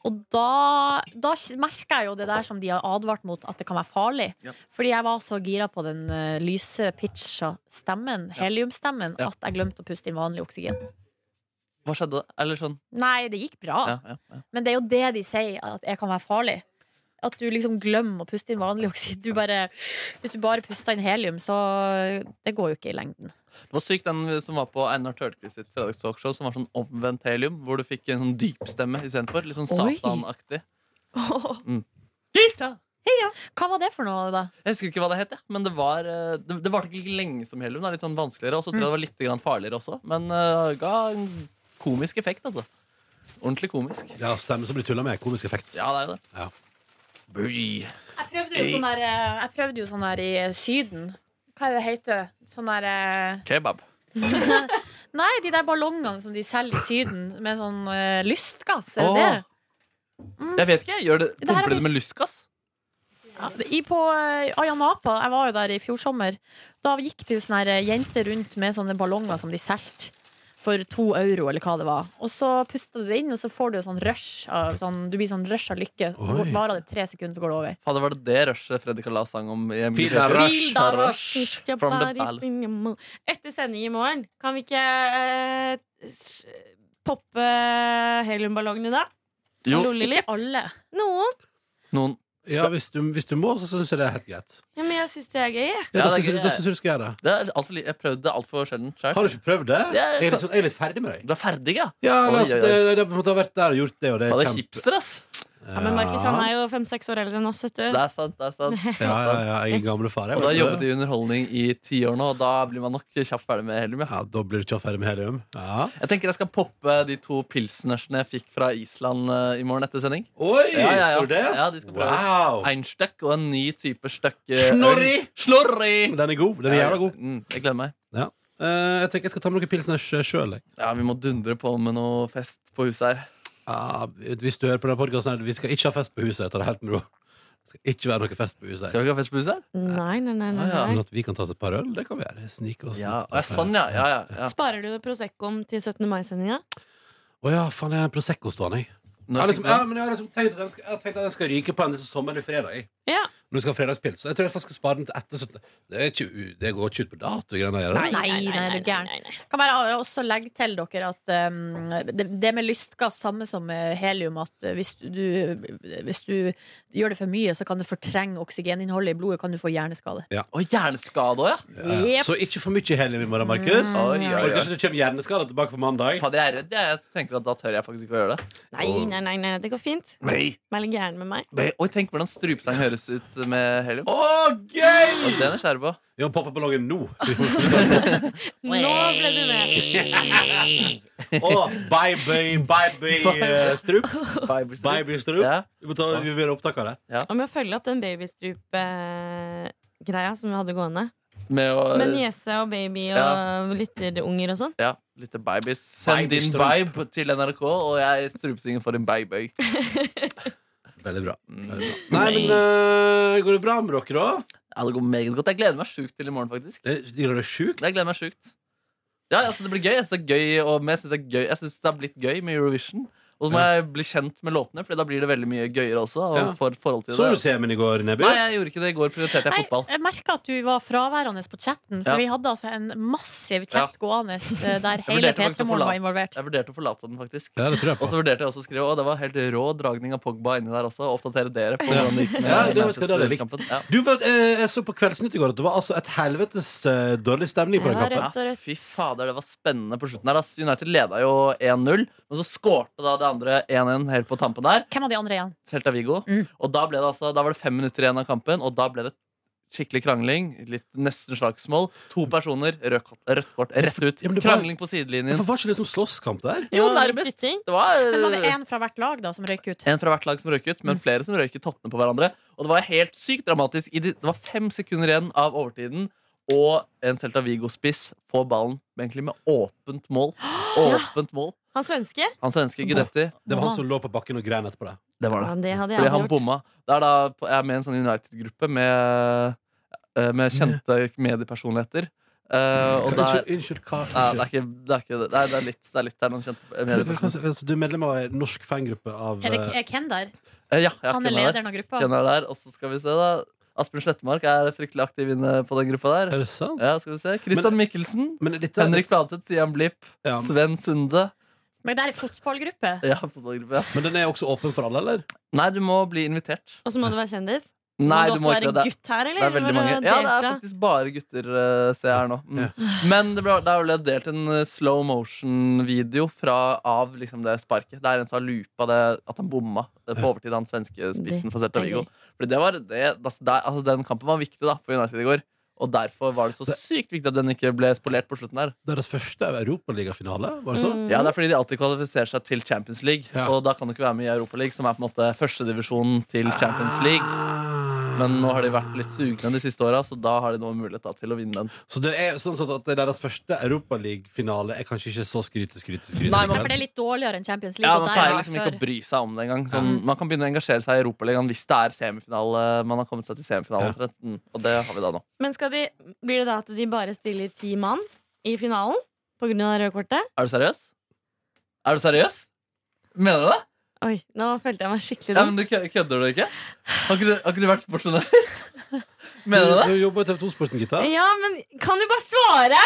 Og da, da merka jeg jo det der som de har advart mot, at det kan være farlig. Fordi jeg var så gira på den eh, lyse pitcha stemmen, heliumstemmen, at jeg glemte å puste inn vanlig oksygen.
Hva skjedde? Eller sånn
Nei, det gikk bra,
ja, ja, ja.
men det er jo det de sier at det kan være farlig. At du liksom glemmer å puste inn vanlig oksygen. Du bare, hvis du bare puster inn helium, så Det går jo ikke i lengden.
Det var sykt den som var på Einar Tørnquist sitt fredagstalkshow, som var sånn omvendt helium, hvor du fikk en sånn dypstemme istedenfor. Litt sånn
Oi.
satanaktig. Mm.
Hva var det for noe, da?
Jeg husker ikke hva det het, ja. men det var eh, Det, det varte ikke like lenge som helium. Det er litt sånn vanskeligere, og så tror jeg det var litt grann farligere også. Men eh, ga en komisk effekt, altså. Ordentlig komisk.
Ja, stemme som blir tulla med. Komisk effekt.
Ja, det er jo det.
Ja.
Bøy.
Jeg prøvde jo sånn der, eh, jeg prøvde jo sånn der i Syden. Hva er det heter? Sånn der eh,
Kebab.
Nei, de der ballongene som de selger i Syden med sånn eh, lystgass. Er
Åh.
det det?
Mm.
Jeg vet ikke. Gjør det,
her har
pumper de
vi-
det med lystgass?
Ja, I på eh, Ayanapa, jeg var jo der i fjor sommer, da gikk det jo sånne her, eh, jenter rundt med sånne ballonger som de solgte. For to euro, eller hva det var. Og så puster du det inn, og så får du jo sånn rush av, sånn, Du blir sånn rush av lykke. Så
Oi.
går- varer det tre sekunder, så går det over.
Fader, var det det rushet Freddy Kalas sang om? i Emily
Feel the
Bjørke?
rush. Feel the
rush From the battle.
Etter sending i morgen, kan vi ikke eh, s- poppe eh, heliumballongene da?
Jo.
Og lolle
Ikke
litt?
alle.
Noen.
Noen
Ja, hvis du, hvis du må, så syns jeg det er helt greit.
Ja, men jeg syns det er gøy. jeg.
Ja, da syns jeg- da syns jeg du skal gjøre det.
det er alt for, li- jeg prøvde det altfor sjelden sjøl.
Har du ikke prøvd det?
Ja, jeg-
Jeg er litt, sånn- jeg er litt ferdig med deg.
Du er ferdig, ja?
Ja,
Oi,
altså,
oi, oi.
det, det, det måtte ha vært der og gjort det, og det
Han
er
er hipster, ass.
Ja, men Markus han er jo fem-seks år eldre enn oss,
Ah.
vet du.
Det er sant. det er sant
Ja, ja, ja, jeg er gamle far. jeg
altså. Og da
vet
har
du
jobbet
det.
i underholdning i ti år nå, og da blir man nok kjapt ferdig med helium. Ja.
Ja, da blir du ikke ferdig med helium. Ja.
Jeg tenker jeg skal poppe de to pilsnersene jeg fikk fra Island eh, i morgen etter sending.
Oi,
ja, ja, ja.
skal du det?
Ja, de skal prøves.
Wow.
En støkk og en ny type støkk. eh,
Snorri!
øl. Snorri!
Den er god. Den er
Ja,
jævla god.
Mm, jeg gleder meg.
Ja. Eh, jeg tenker jeg skal ta med noen pilsners sjøl.
Ja, Vi må dundre på med noe fest på huset her.
Ja, hvis du hører på denne podkasten, vi skal ikke ha fest på huset. Ta det helt med ro. Det skal ikke være noe fest på huset.
Skal vi ikke ha fest på huset her?
Nei, nei, nei.
Ah,
nei,
Men
nei.
at vi kan ta oss et par øl, det kan vi gjøre. Snike oss
Ja, og jeg, sånn, ja. ja, ja, ja.
Sparer du Proseccoen til 17. mai-sendinga?
Å ja, faen, jeg har en Prosecco stående, jeg. Jeg har, liksom, ja, men jeg har liksom tenkt at den skal, jeg har tenkt at den skal ryke på en liksom sommerlig fredag. Jeg.
Ja.
Når vi skal ha fredagspils. Så jeg tror jeg faktisk skal spare den til etter 17. Det, er ikke, u- det går ikke ut på dato. greiene der,
Nei,
eller?
nei, nei, er du gæren. Kan bare også legge til dere at um, det, det med lystgass, samme som med helium, at eh, hvis du, eh, hvis du gjør det for mye, så kan det fortrenge oksygeninnholdet i blodet, kan du få hjerneskade.
Ja.
Og hjerneskade òg, ja.
Ja. Så ikke for mye helium i morgen, Markus.
Mm. Oi, oi, oi.
Orker ikke du kommer hjerneskada tilbake på mandag.
Fader, jeg er redd. Jeg, jeg tenker at Da tør jeg faktisk ikke å gjøre det.
Nei, nei, nei, nei, det går fint.
Nei.
Vær litt gæren med meg.
Oi, tenk hvordan strupesang høres ut med helium.
Å, gøy!
Og den er skjære på.
Vi må poppe ballongen nå.
Nå ble du med!
Å, baby, baby eh, strup. Baby strup.
Ja.
Vi må ta vi vil gjøre opptak av det.
Og med å følge opp den babystrupe-greia som vi hadde gående.
Med å
Med niese og baby og
Ja.
lytterunger og sånn.
Ja, lite babies. Send din
Babystrøm.
vibe til NRK, og jeg strupesynger for din baby.
Veldig bra.
Mm.
Veldig bra. Nei, men eh, går det bra med dere, da?
Ja, det går meget godt. Jeg gleder meg sjukt til i morgen, faktisk.
Det, det er sjukt.
Jeg gleder meg sjukt. Ja, altså, det blir gøy. Jeg synes det er gøy, og men jeg synes det er gøy. Jeg synes det har blitt gøy med Eurovision. Og så må jeg bli kjent med låtene, Fordi da blir det veldig mye gøyere også. Og
Ja.
for forhold til
Så
det
du semen i går, Nebby?
Nei, jeg gjorde ikke det. I går prioriterte jeg fotball.
Jeg merka at du var fraværende på chatten, for
Ja.
vi hadde altså en massiv
Ja.
chat gående eh, der
Jeg
hele
vurderte faktisk
P3
å
Morgen
forlate-
var involvert.
Jeg vurderte å forlate den, faktisk.
Ja, det tror jeg på.
Og så vurderte jeg også å skrive Å, det var helt rå dragning av Pogba inni der også. Oppdatere dere på hvordan det gikk med
Ja, det vet jeg, det hadde jeg likt.
Manchester-kampen. Ja.
Du, vel, eh, jeg så på Kveldsnytt i går at det var altså et helvetes eh, dårlig stemning på den kampen.
Ja, fy fader, det var spennende på slutten her. ass. United leda jo 1-0, men så skårte da det andre 1-1 helt på tampen der.
Hvem av de andre igjen?
Celta Vigo. Og da, ble det altså, da var det fem minutter igjen av kampen, og da ble det skikkelig krangling. Litt nesten slagsmål. To personer, rødt kort, rødt kort rett ut.
men det var-
krangling på sidelinjen.
Hvorfor var ikke det liksom slåsskamp der?
Jo, nærmest. Det var,
Men var det én fra hvert lag da som røyk ut?
en fra hvert lag som røyk ut, men flere som røyk i tottene på hverandre. Og det var helt sykt dramatisk. I de, det var fem sekunder igjen av overtiden, og en Celta Vigo-spiss får ballen egentlig med åpent mål. Åpent mål.
Han svenske?
Han svenske Gudetti.
Det var han som
lå på bakken og grein etterpå det.
Det var det.
Ja, det hadde jeg
Fordi
også
han
gjort.
bomma. Det er da, jeg er med i en sånn United-gruppe med, eh,
Mm.
med kjente mediepersonligheter. Eh, og der,
Unnskyld, unnskyld, hva-
Nei, det er ikke det. Er ikke, det. Det, er, det, er litt, det er litt det er noen kjente mediepersoner.
altså, Du er medlem av en norsk fangruppe av
Er det er Ken der?
Eh, Ja, jeg har
Han er
Ken her.
lederen av gruppa.
Ken er der, og så skal vi se da Asbjørn Slettemark er fryktelig aktiv inne på den gruppa der.
Er det sant?
Ja, skal vi se Christian Mikkelsen. Henrik Fladseth, Sian Blipp. Sven Sunde.
Men det er en fotballgruppe.
Ja, fotballgruppe. Ja.
Men den er også åpen for alle, eller?
Nei, du må bli invitert.
Og så må du være kjendis? må du
Nei, du
også
må
være
ikke det. Det er-
gutt her, eller?
Det er veldig
Må du
mange. Ja, det er
delta?
faktisk bare gutter, eh, ser jeg her nå. Mm. Men det, ble, det er vel delt en eh, slow motion-video fra- av liksom det sparket. Det er en som har loopa det at han bomma eh, på overtid, han svenske spissen for Celta
er
Vigo.
gøy.
Fordi det var det, altså, det, altså, den kampen var viktig da, for United i går. Og derfor var det så sykt viktig at den ikke ble spolert på slutten her.
Deres første europaligafinale, var det sånn?
Mm. Mhm.
Ja, det er fordi de alltid kvalifiserer seg til Champions League. Og da kan du ikke være med i Europa League, som er på en måte førstedivisjonen til Champions League.
Ah.
Men nå har de vært litt sugne de siste åra, så da har de nå mulighet da, til å vinne den.
Så det er sånn sett at deres første Europaliga-finale er kanskje ikke så skryte, skryte, skryte.
Nei, for det er litt dårligere enn Champions League.
Ja,
og
Man
der
pleier
har jeg
liksom
Mhm.
ikke å
før.
bry seg om det engang. Sånn, man kan begynne å engasjere seg i Europaligaen hvis det er semifinale. Man har kommet seg til semifinalen, omtrent. Mm, og det har vi da nå.
Men skal de, blir det da at de bare stiller ti mann i finalen pga. det røde kortet?
Er du seriøs? Er du seriøs? Mener du det?
Oi, nå følte jeg meg skikkelig
Ja,
dum.
men du kø- Kødder du ikke? Har ikke du, har ikke du vært sportsjournalist? Mener du det?
Du jobber i TV 2-sporten, Gitta.
Ja, men kan du bare svare?!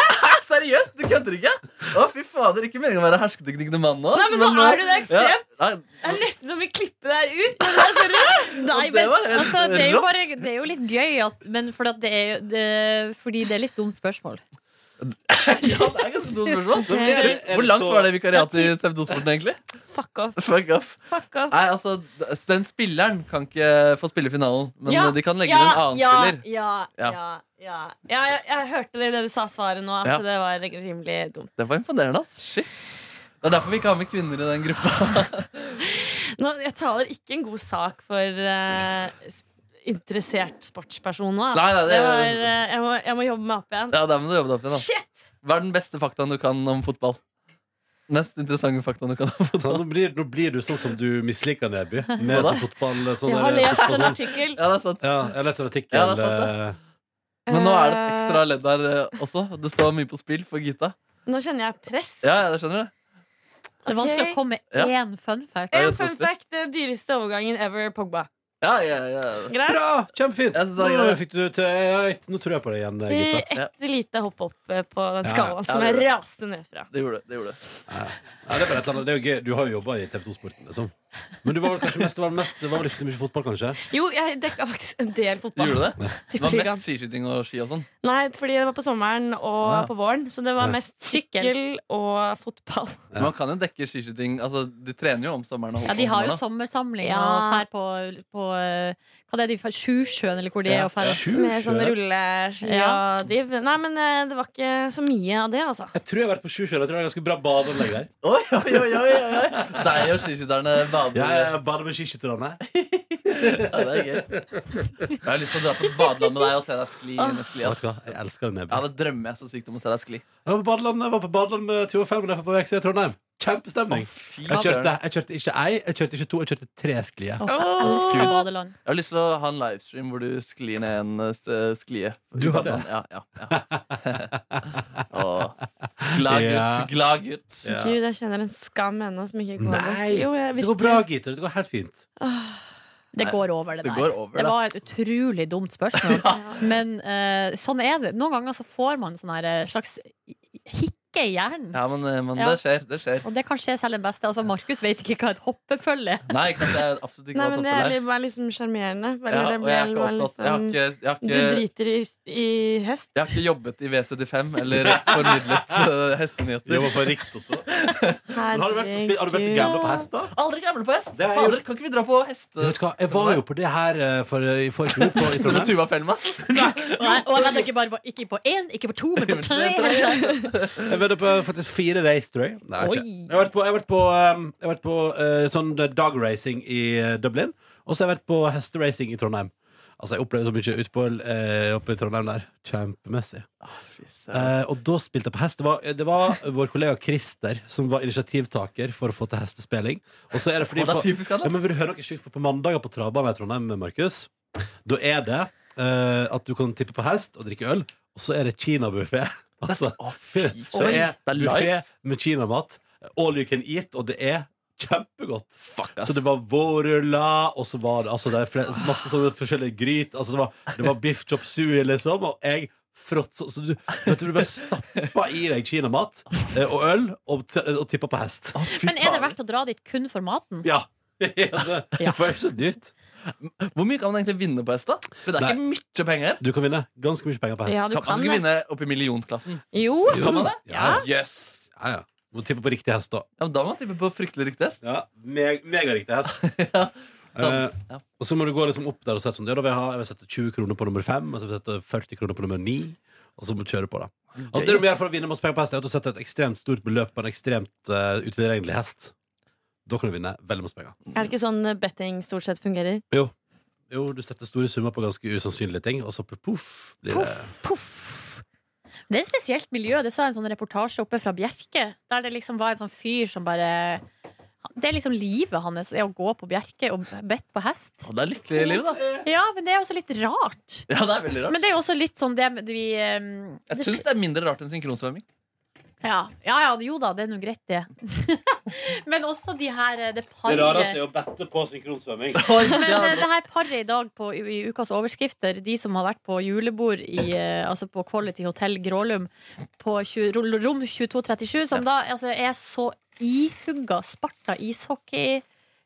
Seriøst, du kødder ikke? Å, fy fader, ikke meningen å være hersketeknikkende mann nå.
Nei, men nå er du det ekstremt.
Ja, nei,
Det er nesten som vi klipper det her ut. men Det er så rødt.
Nei,
Og det
men,
var helt
altså, det, er jo
rått.
bare, det er jo litt gøy, at, men for at det er, jo- det, fordi det er litt dumt spørsmål.
det er ganske dumt spørsmål.
Ok. Er det-
Hvor langt var det vikariatet i TV 2-sporten, egentlig?
Fuck off.
Fuck off.
off.
Nei, altså, d- Den spilleren kan ikke få spille i finalen, men eh,
Ja,
de kan legge
ja,
inn en annen
ja,
spiller.
Ja, ja,
Ja.
ja. Ja, jeg, jeg hørte det i det du sa svaret nå, at
Ja.
det var rimelig dumt.
Det var imponerende, ass. Shit. Det er derfor vi ikke har med kvinner i den gruppa.
Nå, jeg taler ikke en god sak for eh, s- interessert sportsperson nå. altså.
Nei, nei, det-
var, eh, jeg, må, jeg må jobbe meg opp igjen.
Ja, der må du jobbe deg opp igjen. da.
Shit!
Hva er den beste faktaen du kan om fotball? Mest interessante faktaen du kan om fotball?
nå, blir, nå blir du sånn som du misliker Neby. Med
Hva da?
sånn fotball sånn
Jeg har
der-
lest
fotball-
en artikkel.
Ja, det er sant.
Ja, jeg leste en artikkel. eh,
Ja, det er sant, Men nå er det et ekstra ledd der eh, også. Det står mye på spill for Gita.
Nå kjenner jeg press.
Ja, ja, det skjønner du.
Det er vanskelig
Ok.
å komme med
Ja.
én fun fact.
En fun fact, den dyreste overgangen ever, Pogba.
Ja, ja, ja.
Greit?
Bra! Kjempefint!
Jeg synes det er
Nå,
greit.
fikk du til, ja, jeg- nå tror jeg på deg igjen, Gitta.
Et Eh, lite hopp opp eh, på den
Ja,
skalaen
ja,
som
det
jeg
gjør det.
raste ned fra.
Det gjorde det. det gjorde det.
Ja, det er bare et eller annet. Det er jo gøy. Du har jo jobba i TV 2-sporten, liksom. Men du var vel kanskje mest, det var, mest, det var vel ikke så mye fotball, kanskje?
Jo, jeg dekka faktisk en del fotball.
Gjorde du det? Det
Til
var
program.
mest skiskyting og ski og sånn.
Nei, fordi det var på sommeren og
Ja.
på våren, så det var
Ja.
mest sykkel og fotball.
Men Man kan jo dekke skiskyting. Altså, de trener jo om sommeren. og
Ja, de
om
har jo
våren, da.
sommersamling
Ja.
og fær på, på eh, Hva det er de for- Sjusjøen, eller hvor de er? Og
Ja.
fær.
Med sånn rulleski
Ja.
og div. Nei, men eh, det var ikke så mye av det, altså.
Jeg tror jeg har vært på Sjusjøen. Jeg tror det er ganske bra badeanlegg der.
Oi, oi, oi, oi, oi, oi. Deg og skiskytterne bader.
Ja, jeg bader med skiskytterne.
Ja, det er gøy. Jeg har lyst til å dra på et badeland med deg og se deg skli. inn i skli ass.
Vet du hva? Jeg elsker Neby.
Ja, det drømmer jeg så sykt om å se deg skli.
Jeg var på badeland, jeg var på badeland med Tuva Feldman da jeg var på vei til Trondheim. Kjempestemning. jeg, kjørte, jeg kjørte ikke ei, jeg kjørte ikke to, jeg kjørte tre sklier.
elsker badeland.
Jeg har lyst til å ha en livestream hvor du sklir ned en eh, s- sklie.
Du har det?
Ja, ja, ja. Åh. Glad gutt.
Ja.
Glad gutt.
Gud, jeg kjenner en skam ennå som ikke går bort.
Nei!
Jo, jeg
Det går bra, Gitter. Det går helt fint.
Det går over, det,
Det
der.
går over,
det
da.
var et utrolig dumt spørsmål. Men eh, sånn er det. Noen ganger så får man sånn her eh, slags hikke i hjernen.
Ja, men, eh, men
Ja.
det skjer. Det skjer.
Og det kan skje selv den beste. Altså, Markus vet ikke hva et hoppefølge er.
Nei, ikke sant. Det er absolutt ikke
Nei,
noe
men
å
det
ta
er
for
litt- bare liksom sjarmerende. Bare
Ja,
det
og
ble
jeg er ikke
bare
opptatt Jeg har
liksom-
ikke, jeg har
Du
ikke,
driter i, i hest.
jeg har ikke jobbet i V75 eller formidlet eh, hestenyheter.
Jobber for Rikstoto.
Har
du vært og spilt- har du vært og gamblet på hest, da?
Aldri gamle på hest!
Det er jo-
Fader, kan ikke vi dra på hest?
Vet du hva, Jeg var jo på det her eh, for, i forrige uke. på- i
Spille
Trondheim.
Tuva Fellmann?
Og jeg, og jeg vet ikke bare på, ikke på én, ikke på to, men på tre.
Jeg har vært på eh, faktisk fire race, tror jeg. Nei, jeg vet ikke.
Oi.
jeg har vært på, jeg har vært på, um, jeg har vært på eh, sånn dog racing i eh, Dublin, og så har jeg vært på hesteracing i Trondheim. Altså, jeg opplevde så mye ute på, eh, oppe i Trondheim der. Kjempemessig. Eh, og da spilte jeg på hest. Det var, det var vår kollega Christer som var initiativtaker for å få til hestespilling. Og så er det fordi
Å, det er
på-
typisk, Anders.
ja, men vil du høre noe sjukt? For på mandager på travbanen i Trondheim, Markus, da er det eh, at du kan tippe på hest og drikke øl, og så er det kinabuffé. Altså, så det er
Det er
buffé
life.
med kinamat. All you can eat, og det er kjempegodt. så det var vårruller, og så var det, altså, det er flere, masse sånne forskjellige gryt. Altså, det, var, det var beef chop suey, liksom, og jeg fråtsa. Så du, vet du, du bare stappa i deg kinamat eh, og øl og, t- og tippa på hest.
Men er det verdt å dra dit kun for maten?
Ja. det, for det er så dyrt.
Hvor mye kan man egentlig vinne på hest, da? For det er ikke
Nei.
mye penger.
Du kan vinne ganske mye penger på hest.
Ja, du
kan,
kan
man ikke
det.
vinne opp i millionsklassen?
Jo.
Kan man det?
Ja.
Yes.
Ja, ja. Må tippe på riktig hest, da.
Ja, men da må man tippe på fryktelig riktig hest.
Ja, meg, Megariktig hest.
Da-
Eh, Og så må du gå liksom opp der og sette sånn ja, da vil jeg, ha, jeg vil sette 20 kroner på nummer 5, og så vil jeg sette 40 kroner på nummer 9, og så må du kjøre på, da. Altså, det du må gjøre for å vinne masse penger på hest, er at du setter et ekstremt stort beløp på en ekstremt eh, utilregnelig hest. Da kan du vinne veldig masse penger.
Er det ikke sånn eh, betting stort sett fungerer?
Jo. jo, du setter store summer på ganske usannsynlige ting, og så poff blir det
Puff. Det er et spesielt miljø. Det så jeg en sånn reportasje oppe fra Bjerke. Der det liksom var en sånn fyr som bare Det er liksom livet hans er å gå på Bjerke og bedt på hest.
Og det er lykkelig i livet, da.
Ja, men det er også litt rart.
Ja, det er veldig rart.
Men det er jo også litt sånn det med- vi ehm,
Jeg
det-
syns det er mindre rart enn synkronsvømming.
ja. ja, ja, jo da, det er nå greit, det. men også de her eh, Det paret
å bette på synkronsvømming.
Men eh, det her paret i dag på, i, i ukas overskrifter, de som har vært på julebord i, eh, altså på Quality Hotel Grålum, på 20, ro- rom 2237, som da altså, er så ihugga Sparta ishockey.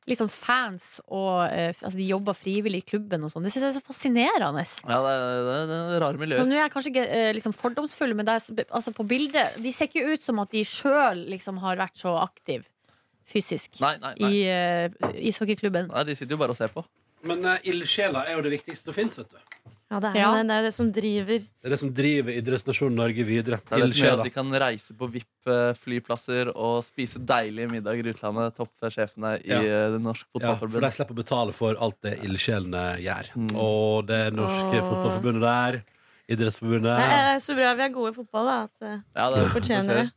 Liksom fans og eh, f- altså De jobber frivillig i klubben og sånn. Det syns jeg er så fascinerende.
Ja, det er, det er, det er rare
Så
Sånn-
miljøer.
nå er jeg kanskje ikke eh, liksom fordomsfull, men det er, s- altså, på bildet De ser ikke ut som at de sjøl liksom, har vært så aktiv fysisk
Nei, nei, nei.
i eh, ishockeyklubben.
nei. De sitter jo bare og ser på.
Men uh, ildsjela er jo det viktigste som fins, vet du.
Ja, det er
Ja.
det. Det er jo det som driver.
Det er det som driver idrettsnasjonen Norge videre.
Det er det som gjør at de kan reise på VIP-flyplasser og spise deilige middager i utlandet. Toppsjefene i
Ja.
eh, det norske
Ja, for
fotballforbundet.
de slipper å betale for alt det ildsjelene gjør. Og det norske fotballforbundet der,
Det
idrettsforbundet
er Eh, så bra vi er gode i fotball, da. At, eh,
Ja,
de fortjener det.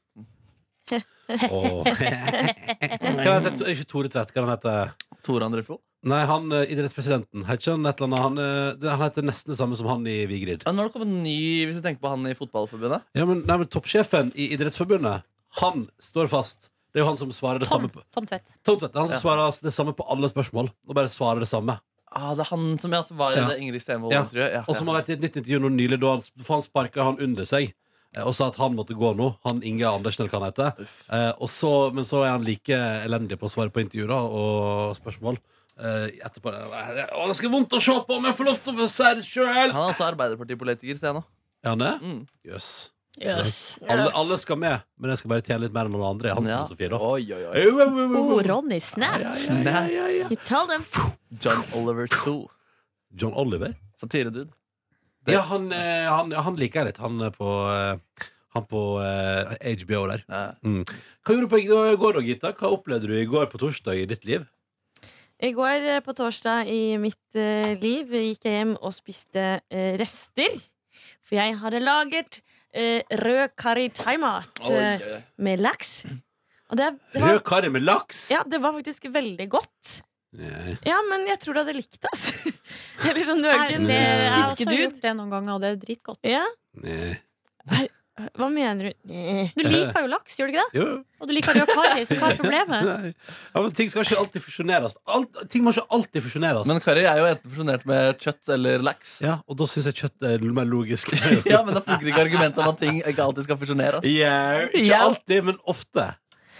og Hva heter Ikke Tore Tvedt, hva han heter
Tore André Flo.
Nei, han eh, idrettspresidenten. Heter ikke han et eller annet Han, eh, det- han heter nesten det samme som han i Vigrid.
Ja, nå har det kommet en ny, hvis du tenker på han i fotballforbundet.
Ja, men, nei, men toppsjefen i Idrettsforbundet, han står fast. Det er jo han som svarer det
Tom,
samme på
Tom Tvedt.
Tom Tvedt. Han som
Ja.
svarer det samme på alle spørsmål. Og bare svarer det samme.
Ah, det er han som jeg, altså, var i
Ja.
det Ingrid Stenvold
Ja.
intervjuet. Ja,
Og som
ja.
har vært i et nytt intervju nå nylig, da han, for han sparka han under seg. eh, Og sa at han måtte gå nå. Han Inge Andersen, eller hva han heter. Eh, og så, men så er han like elendig på å svare på intervjuer da, og spørsmål. Eh, etterpå det, det er ganske vondt å se på, men jeg får lov til å si det sjøl!
Han er altså arbeiderpartipolitiker, ser jeg nå.
Er han det?
Mm.
Jøss.
Yes.
Alle, alle skal med, men jeg skal bare tjene litt mer enn noen andre. Han
Ja.
ja. Sofie, da.
Oi, oi, oi.
Au, au, au, au,
Oh,
au.
Ronny Snatch.
Nei.
You tell them.
John Oliver 2.
John Oliver?
Satiredude. Det-
Ja, han, eh, han, ja, han liker jeg litt. Han er på, eh, han på eh, HBO der.
Ja.
Mm. Hva gjorde du på i går da, Gita? Hva opplevde du i går på torsdag i ditt liv?
I går eh, på torsdag i mitt eh, liv gikk jeg hjem og spiste eh, rester. For jeg hadde laget eh, rød curry thaimat
Oi,
eh,
oi, oi.
med laks. Og det, det
Rød karri med laks?
Ja, det var faktisk veldig godt.
Nei.
Ja, men jeg tror du hadde likt det, altså. Eller sånn, du er altså jo ikke en
det, jeg har også
fiskedud.
gjort det noen ganger, og det er dritgodt.
Ja.
Nei.
Hva mener du?
Du liker jo laks, gjør du ikke det?
Jo.
Og du liker rød karri, så hva er problemet?
Nei. Ja, men ting skal ikke alltid fusjoneres. Alt, ting må ikke alltid fusjoneres.
Men karri er jo enten fusjonert med kjøtt eller laks.
Ja, og da syns jeg kjøtt er mer logisk.
ja, Men da funker ikke argumentet om at ting ikke alltid skal fusjoneres.
Yeah. Ikke
Ja.
alltid, men ofte.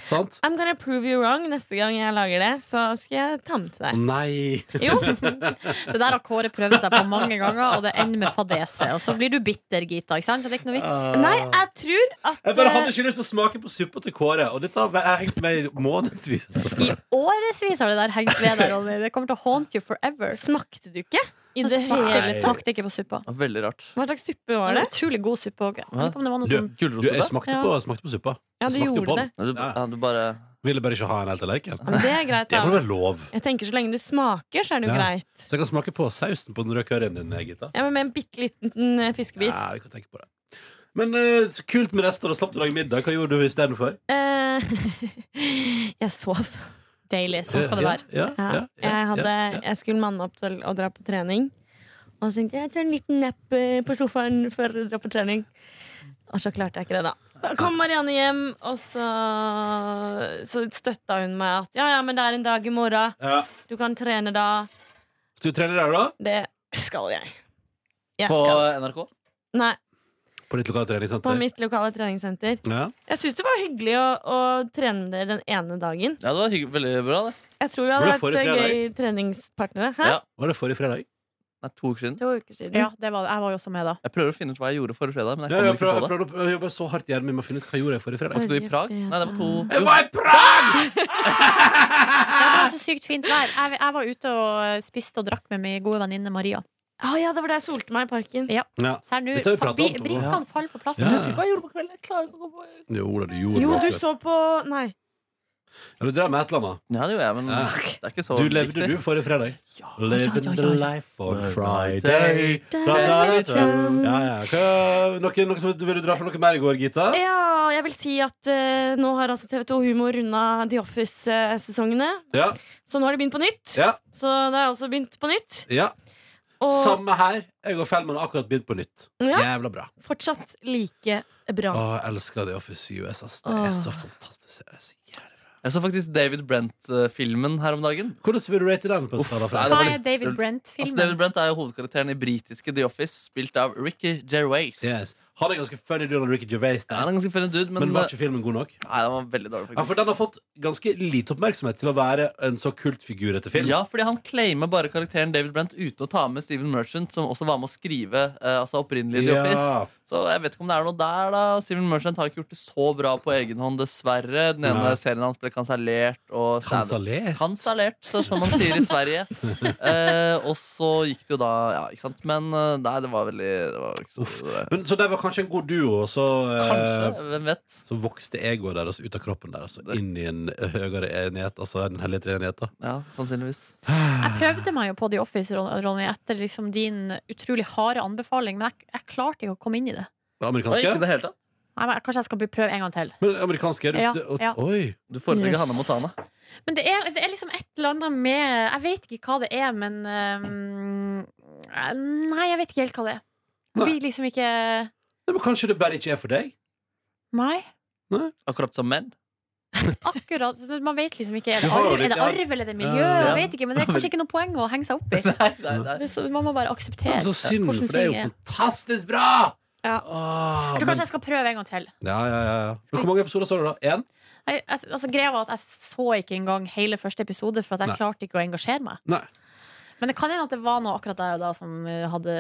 Sant?
I'm gonna prove you wrong neste gang jeg lager det, så skal jeg ta med til
Å,
deg.
Nei.
Jo.
Det der har Kåre prøvd seg på mange ganger, og det ender med fadese. Og så blir du bitter, Gita. Ikke sant? Så det er ikke noe vits.
Ah.
Nei, jeg tror at eh,
Jeg bare hadde ikke lyst til å smake på suppa til Kåre, og dette har væ- hengt meg i månedsvis.
Årevis har det der hengt ved deg, Ronny. Det kommer til å haunt you forever.
Smakte du ikke? I
Det
det
smakte,
hele tatt?
smakte ikke på suppa.
Veldig rart.
Hva slags suppe var
Det
det?
var utrolig god suppe òg.
Du,
sånn
du, jeg smakte på,
Ja.
smakte på suppa.
Ja,
Jeg
du
smakte
gjorde
på den.
det.
Ja, Du, ja, du bare
Ville bare ikke ha en hel tallerken.
Men det er greit,
Det må
da.
være lov.
Jeg tenker så lenge du smaker, så er det jo
Ja.
greit.
Så jeg kan smake på sausen på den røde curryen din, Gitta.
Ja, men Med en bitte liten eh, fiskebit.
Ja, vi kan tenke på det. Men eh, så kult med rester, og slapp du å lage middag. Hva gjorde du istedenfor?
Eh, jeg sov.
Deilig. Sånn skal det
Ja,
være.
ja, ja, ja,
jeg, hadde,
ja, ja.
jeg skulle manne opp til å dra på trening. Og så tenkte jeg jeg tar en liten napp eh, på sofaen før jeg drar på trening. Og så klarte jeg ikke det, da. Da kom Marianne hjem, og så, så støtta hun meg at ja, ja, men det er en dag i morgen.
Ja.
Du kan trene da.
Skal du trene der, da?
Det skal jeg. Jeg
På
skal.
NRK?
Nei,
På ditt lokale
på
treningssenter?
mitt lokale treningssenter.
Ja.
Jeg syns det var hyggelig å, å trene med dere den ene dagen.
Ja, det var hygg- veldig bra, det.
Jeg tror vi
Var
hadde
det
vært
forrige
eh, gøy treningspartnere. Hæ?
Ja.
Var det forrige fredag?
Nei, to uker siden.
To uker siden.
Ja, det var, jeg var jo også med da.
Jeg prøver å finne ut hva jeg gjorde forrige fredag. Men jeg
Ja,
kommer
jeg
ikke
prøvde,
på
jeg
det
prøvde, jeg jobba så hardt i hjernen min med å finne ut hva jeg gjorde forrige
Var
fredag.
ikke du i Prag? Nei, det var to
Jeg var i Prag!
Det var så sykt fint vær. Jeg, jeg var ute og spiste og drakk med min gode venninne Maria.
Å Ah, ja, det var da jeg solte meg i parken.
Ja.
Ja.
Så her nå
Dette har vi
fa-
pratet om,
bi-
Tove.
brikkene faller på plass.
Ja.
Husker
Hva jeg gjorde på kvelden? Jeg klarer ikke å gå på
Jo da, du gjorde
Jo,
det.
du så på Nei.
Ja, du drev med et eller annet.
Ja, det gjorde jeg, men
Ja.
det er ikke så
Du levde
viktig.
du forrige fredag? Ja, Living
ja, ja,
the
ja.
life on Friday da, da, da. Ja, ja. Hva, noe, noe som, Vil du dra for noe mer i går, Gita?
Eh, Ja, jeg vil si at eh, nå har altså TV2 Humor runda The Office-sesongene.
Ja.
Så nå har de begynt på nytt.
ja,
Så da har jeg også begynt på nytt.
ja.
Og
Samme her. Jeg og Feldman har akkurat begynt på nytt.
Ja.
Jævla bra.
fortsatt like bra.
Å, jeg elsker The Office US. ass. Det er så fantastisk. Det er så jævlig bra.
Jeg så faktisk David Brent-filmen her om dagen.
Hvordan vil du rate den? på en skala
nei,
fra en?
Hva
det var
er
litt-
David
Altså,
Brent-filmen?
David Brent er jo hovedkarakteren i britiske The Office, spilt av Ricky Gervais.
Yes. Han er ganske funny dude, han Ricky Gervais.
Ja, han
Der.
er ganske funny dude, men, eh,
Men var ikke filmen god nok?
Nei, den var veldig dårlig,
Ja, for
faktisk.
Den har fått ganske lite oppmerksomhet til å være en så kult figur etter film.
Ja, fordi han claimer bare karakteren David Brent uten å ta med Steven Merchant, som også var med å skrive eh, altså opprinnelig The
Ja.
Office. Så jeg vet ikke om det er noe der, da. Steven Merchant har ikke gjort det så bra på egen hånd, dessverre. Den ene
Nei.
serien hans ble kansellert. og stand-
Kansallert.
Kansellert, så- som man sier i Sverige. Eh, og så gikk det jo da Ja, ikke sant. Men eh, nei, det var veldig det var ikke så,
Men, så det var kanskje en god duo, og så, eh,
Kanskje. Hvem vet?
så vokste egoet deres ut av kroppen deres og inn i en høyere enighet, altså en hellig treenighet. da.
Ja, sannsynligvis.
Jeg prøvde meg jo på The Office, Ron- Ronny, etter liksom din utrolig harde anbefaling, men jeg, jeg klarte ikke å komme inn i det.
Og ikke i
Amerikanske?
det hele tatt.
Nei, men jeg- kanskje jeg skal be- prøve en gang til.
Men amerikanske er du,
Ja,
det- og-
ja.
Oi!
Du foretrekker
Yes.
Hanne Montana.
Men det er, det er liksom et eller annet med Jeg vet ikke hva det er, men ehm, Nei, jeg vet ikke helt hva det er. Det blir liksom ikke
Nei, men kanskje det bare ikke er for deg?
Nei.
Akkurat som menn.
Akkurat. så Man vet liksom ikke. Er
Du
det
har jo
arv, er
litt
det
arv.
arv eller er det miljø?
Ja,
ja.
Jeg vet ikke, men det er kanskje ikke noe poeng å henge seg opp i.
Nei, nei, nei.
Det er så- Man må bare akseptere
Men Så synd,
hvordan
for det er jo
ting er.
fantastisk bra!
Ja.
Åh,
Jeg tror
men,
kanskje jeg skal prøve en gang til.
ja, ja, ja. ja. Men Hvor mange episoder så du, da? Én?
Jeg, jeg, altså, greia var at jeg så ikke engang hele første episode, for at jeg
Nei.
klarte ikke å engasjere meg.
Nei.
Men det kan hende at det var noe akkurat der og da som eh, hadde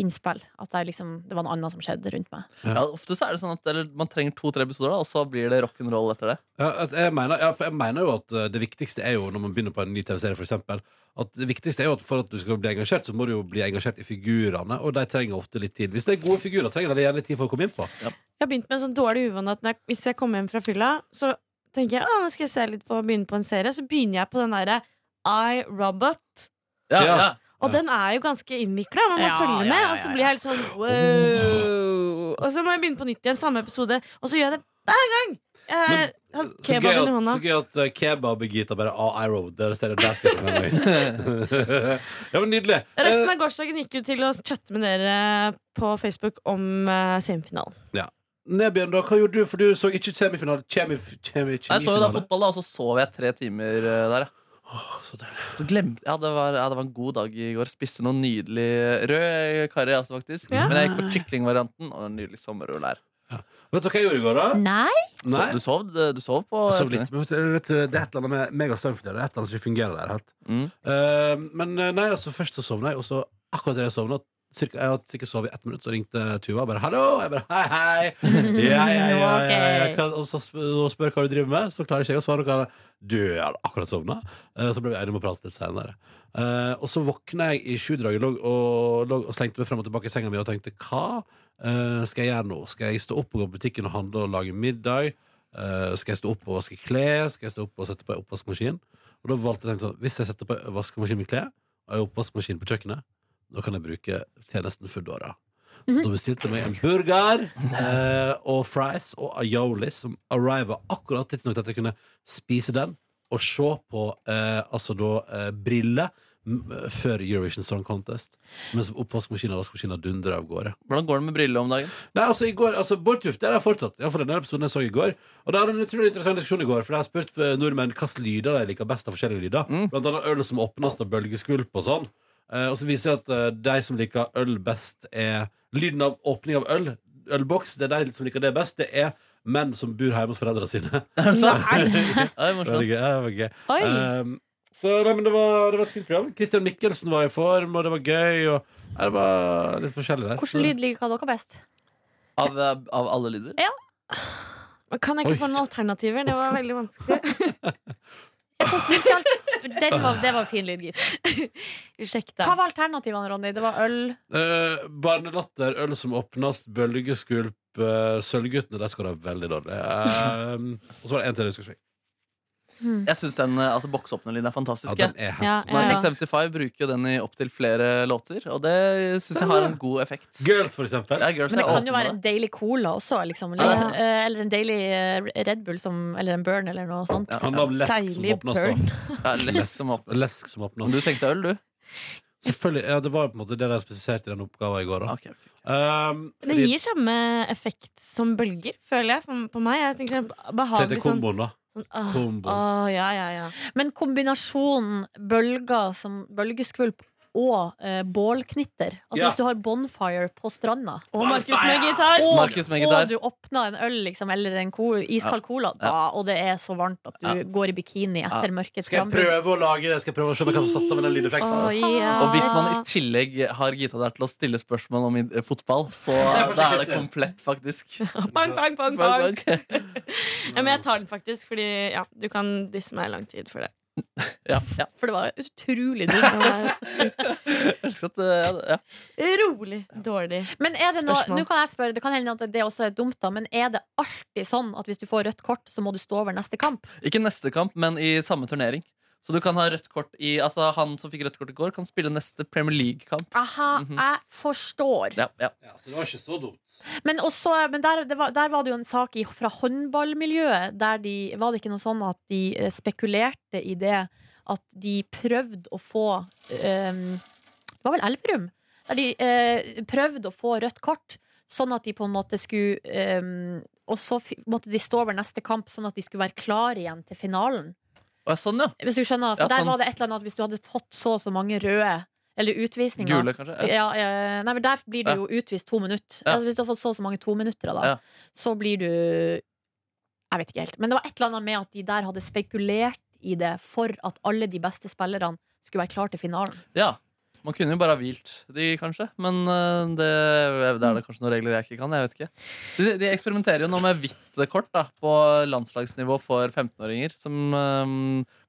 innspill. At jeg liksom, det var noe annet som skjedde rundt meg.
Ja, ofte så er det sånn at eller, man trenger to-tre episoder, da, og så blir det rock'n'roll etter det.
Ja, altså, jeg, mener, ja, for jeg mener jo at eh, det viktigste er jo når man begynner på en ny TV-serie, for eksempel, at det viktigste er jo at for at du skal bli engasjert, så må du jo bli engasjert i figurene, og de trenger ofte litt tid. Hvis det er gode figurer, trenger de gjerne litt tid for å komme inn på.
Jeg har begynt med en sånn dårlig uvane at når jeg, hvis jeg kommer hjem fra fylla, så tenker jeg at nå skal jeg se litt på begynne på en serie. Så begynner jeg på den derre I, Robot.
Ja,
Ja.
ja.
Og
Ja.
den er jo ganske innvikla. Man må
Ja,
følge med.
ja, ja,
Og så
ja,
blir jeg litt sånn wow. Og så må jeg begynne på nytt igjen, samme episode. Og så gjør jeg det hver gang! Jeg er hadde
Så gøy,
kebaben
at,
i hånda.
så gøy at uh, kebab og Gita bare ah, I road. Der ser jeg der skal jeg være med. Ja, men nydelig.
Resten av gårsdagen gikk jo til å chatte med dere på Facebook om eh, semifinalen.
Ja. Nebjørn, Eh, da, hva gjorde du? For du så ikke semifinale. Kjemif kjemi,
Jeg så jo da
kjemifinale.
fotball, da, og så sov jeg tre timer eh, der. jeg. Så glemte ja det, var, ja, det var en god dag i går. Spiste noe nydelig rød karri, altså, faktisk.
Ja.
Men jeg gikk for kyklingvarianten og en nydelig sommerrull der.
Vet du hva jeg gjorde i går, da?
Nei?
Så, du, sov, du sov på
Jeg sov litt, men vet du, vet du, det er et eller annet med meg og søvnflyet. Det er et eller annet som ikke fungerer der helt. Eh, men eh, nei, altså først så sovna jeg, og så akkurat da jeg sovna Cirka, jeg hadde sikkert sovet i ett minutt, så ringte Tuva og bare 'hallo'. Jeg bare 'hei, hei'. Ja, ja, ja, ja, ja.
Ok.
Hva- Og så sp- og spør hva du driver med, så klarer ikke jeg å svare. Hva, 'Du, jeg hadde akkurat sovna'. Eh, Så ble vi enige om å prate litt senere. Eh, og så våkna jeg i sjudraget lå og, lå og slengte meg frem og tilbake i senga mi og tenkte 'hva eh, skal jeg gjøre nå?' Skal jeg stå opp og gå på butikken og handle og lage middag? Eh, skal jeg stå opp og vaske klær? Skal jeg stå opp og sette på en oppvaskmaskin? Og da valgte jeg å tenke sånn Hvis jeg setter på en vaskemaskin med klær, og en oppvaskmaskin på kjøkkenet, da kan jeg bruke tjenesten Foodora. Så da bestilte jeg meg en burger eh, og fries og aioli, som arriva akkurat tidsnok til at jeg kunne spise den og se på eh, altså da eh, briller m- før Eurovision Song Contest. Mens oppvaskmaskinen og vaskemaskinen dundrer av gårde.
Hvordan går det med briller om dagen?
Nei, altså i går, altså Bårdtuft der er fortsatt ja, for denne episoden jeg så i går Og det er en utrolig interessant diskusjon i går For jeg har spurt eh, nordmenn hvilke lyder de liker best av forskjellige lyder Blant annet øl som åpnes av bølgeskulp og sånn Eh, Og så viser det seg at eh, de som liker øl best er Lyden av åpning av øl, ølboks Det er de som liker det best Det er menn som bor hjemme hos foreldrene sine
Er det sant?
det
morsomt.
var gøy, ja, det var gøy.
Oi.
Ehm, Så nei, men det var, det var et fint program Kristian Mikkelsen var i form, og det var gøy og, Nei, Det var litt forskjellig der
Hvilken lyd liker dere best?
Av, eh, av alle lyder?
Ja.
Kan jeg
Oi.
ikke få noen alternativer? Det var veldig vanskelig.
Den var, det var en fin lyd, gitt. Hva var alternativene, Ronny? Det var øl.
Eh, barnelatter, øl som åpnes, bølgeskulp, eh, Sølvguttene, der skal det veldig dårlig. Eh, og så var det en til jeg husker ikke.
Mm.
Jeg syns den eh, altså, boksåpnerlyden er fantastisk.
Ja, den er helt Ja, ja,
Når
ja.
Nick 75 bruker jo den i opptil flere låter, og det syns jeg har en god effekt.
Girls, for eksempel.
Ja, girls
Ah. Men det
er
kan jo
åpne
være
med
en deilig cola også, liksom.
Ja, det er
Eller,
sant.
eh, eller en deilig eh, Red Bull som, eller en Burn eller noe sånt.
Ja, han la lesk som
Deilig
åpnes, da.
burn.
Ja, lesk som åpnes.
Lesk som åpnes. Mm.
Du tenkte øl, du?
Selvfølgelig. Ja, det var på en måte det de spesifiserte i den oppgaven i går. Da. Um,
Det gir samme effekt som bølger, føler jeg, for- på meg. Jeg tenker
Tenkte
behagelig sånn
komboen, da.
sånn, ah,
Kombo.
ah, ja, ja, ja.
Men kombinasjonen bølger som bølgeskvulp og eh, bålknitter Altså
Ja.
hvis du har bonfire på stranda
Og Markus med gitar.
Og,
Markus med gitar.
og du åpner en øl liksom, eller en ko- iskald
Ja.
cola, da, og det er så varmt at du
Ja.
går i bikini etter
Ja.
mørkets
Skal jeg
frambrudd.
prøve å lage det? Skal jeg prøve å se om jeg kan få satt sammen en lydeffekt?
Å, ja.
Og hvis man i
Ah.
tillegg har Gita der til å stille spørsmål om i- eh, fotball, så
Det er
da er det
forsiktig.
komplett, faktisk.
Bang, bang, bang,
Bang,
bang. ja, men jeg tar den faktisk, fordi ja, du kan disse meg lang tid for det.
Ja, ja.
For det var utrolig dumt.
Så at, eh, ja, ja.
Rolig dårlig
Men er det noe,
Spørsmål.
nå kan jeg spørre, det kan hende at det også er dumt, da, men er det alltid sånn at hvis du får rødt kort, så må du stå over neste kamp?
Ikke neste kamp, men i samme turnering. Så du kan ha rødt kort i Altså, han som fikk rødt kort i går, kan spille neste Premier League-kamp.
Aha,
Mhm.
jeg forstår.
Ja, ja.
Så det var ikke så dumt.
Men, også, men der, det var, der var det jo en sak i, fra håndballmiljøet. Der de, var det ikke noe sånn at de eh, spekulerte i det at de prøvde å få eh, Det var vel Elverum? Der de eh, prøvde å få rødt kort, sånn at de på en måte skulle eh, Og så fi- måtte de stå over neste kamp, sånn at de skulle være klare igjen til finalen.
Å, sånn, ja.
Hvis du skjønner, for
Ja, sånn.
der var det et eller annet at Hvis du hadde fått så og så mange røde eller utvisninger
Gule, kanskje?
Ja.
Ja.
Ja, Nei, men Der blir du
Ja.
jo utvist to minutter.
Ja.
Altså, hvis du har fått så og så mange to minutter, da,
Ja.
så blir du Jeg vet ikke helt. Men det var et eller annet med at de der hadde spekulert i det for at alle de beste spillerne skulle være klar til finalen.
Ja. Man kunne jo bare ha hvilt de, kanskje. Men eh, det, det er det kanskje noen regler jeg ikke kan. Jeg vet ikke. De, de eksperimenterer jo nå med hvitt kort da, på landslagsnivå for 15-åringer. Som eh,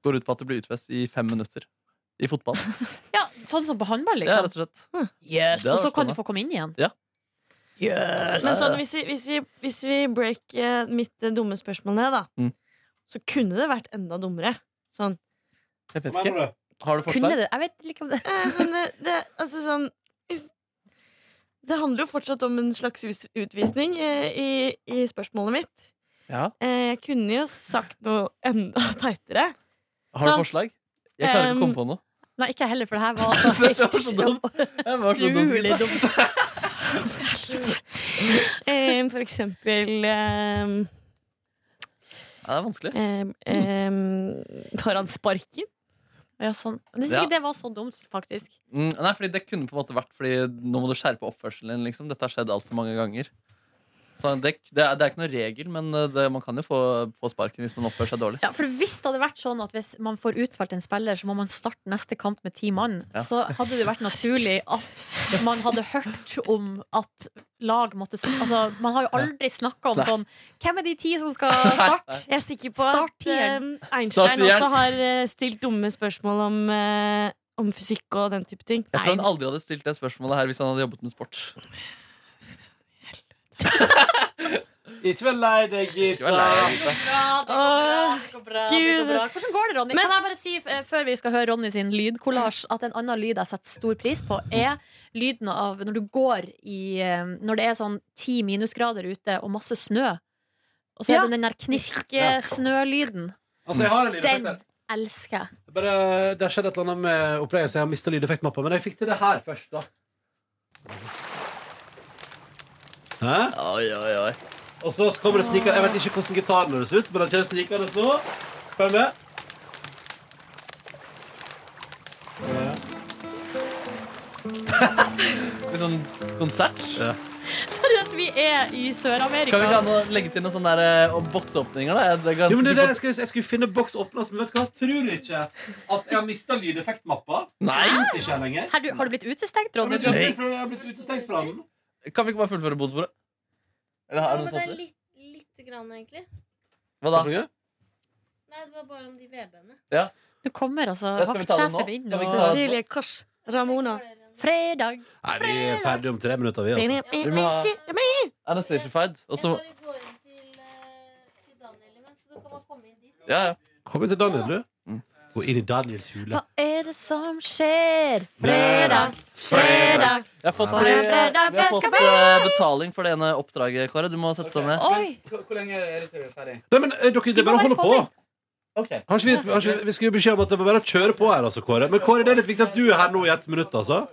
går ut på at du blir utvist i fem minutter i fotball.
Ja, Sånn som på håndball,
Ja,
liksom.
rett og slett.
Yes,
Det
Og
er
så kan du
spennende.
få komme inn igjen.
Ja.
Yes.
Men sånn, hvis vi, hvis vi, hvis vi break eh, mitt eh, dumme spørsmål ned, da,
Mm.
så kunne det vært enda dummere. Sånn.
Jeg vet
Hva mener
ikke. Har du
Kunne
forslag?
det-
Jeg vet ikke om det
Eh, sånn, eh, det, altså, sånn is- Det handler jo fortsatt om en slags us- utvisning eh, i, i spørsmålet mitt.
Ja.
Eh, Jeg kunne jo sagt noe enda teitere.
Har du
Sånn,
forslag? Jeg klarer ikke å komme på noe.
Nei, ikke jeg heller, for det her var altså
var så dumt.
helt utrolig dumt.
Eh, for eksempel eh,
Ja, det er vanskelig.
Eh, eh, foran sparken.
Ja, sånn. Jeg
synes ikke Ja.
det var så dumt, faktisk.
Mm, nei, fordi det kunne på en måte vært Fordi nå må du skjerpe oppførselen din. Liksom. Dette har skjedd altfor mange ganger. Så det, det, er, det er ikke noen regel, men eh, det, man kan jo få, få sparken hvis man oppfører seg dårlig.
Ja, for Hvis det hadde vært sånn at hvis man får utvalgt en spiller, så må man starte neste kamp med ti mann,
Ja.
så hadde det vært naturlig at man hadde hørt om at lag måtte s- Altså, Man har jo aldri snakka om
Nei.
sånn Hvem er de ti som skal starte?
Jeg er sikker på
Start
at eh,
tieren.
Einstein
Start tieren.
også har eh, stilt dumme spørsmål om, eh, om fysikk og den type ting.
Jeg tror han aldri hadde stilt det spørsmålet her hvis han hadde jobbet med sport.
Ikke vær lei deg,
Ikke vær lei deg, Gitta.
Gud.
Hvordan går det, Ronny? kan jeg bare si eh, før vi skal høre Ronny sin lydkollasj, at en annen lyd jeg setter stor pris på, er lyden av når du går i eh, Når det er sånn ti minusgrader ute og masse snø, og så er
Ja.
det den der knirkesnølyden.
Altså, jeg har en lydeffekt
Den
her.
elsker jeg.
Bare, det har skjedd et eller annet med opplegget, så jeg har mista lydeffektmappa. Men jeg fikk til det her først, da. Hæ? Oi, oi, oi. Og så kommer det snikende Jeg vet ikke hvordan gitaren høres ut, men den kommer snikende nå. Følg med.
Litt sånn konsert.
Seriøst, vi er i Sør-Amerika.
Kan vi ikke ha noe- legge til noen sånne der, eh, boksåpninger? da? Jeg,
Jo, men det er det jeg, skulle, jeg skulle finne boks åpna, men vet du hva? Tror du ikke at jeg har mista lydeffektmappa?
Nei.
Den finnes ikke her lenger.
Her, du, har du blitt utestengt, Ronny?
Jeg har blitt utestengt fra- jeg har blitt utestengt fra den.
Kan vi ikke bare fullføre bonusbordet? Eller har- er det noen sanser?
litt, lite grann, egentlig.
Hva da?
Nei, det var bare om de VB-ene.
Ja.
Du kommer altså
Ja, skal vi ta det nå?
vaktsjefen inn
Kan vi
og
ikke ta det nå?
Silje Kors. Ramona.
Fredag.
Nei, vi er ferdige om tre minutter, vi, altså.
Vi må ha Anastatified. Og så Ja, ja.
Kom inn til Daniel, du. Gå inn i Daniels hule.
Hva er det som skjer?
Fredag, fredag.
Jeg har fått,
For en fredag
vi har
jeg skal
fått eh, betaling for det ene oppdraget, Kåre. Du må sette deg ned.
Hvor lenge er det til vi er ferdig?
Nei, men eh, dere, det er bare å holde på. Har ikke vi, har ikke, vi skulle gi beskjed om at det var bare å kjøre på her, altså, Kåre. Men Kåre, det er litt viktig at du er her nå i ett minutt, altså.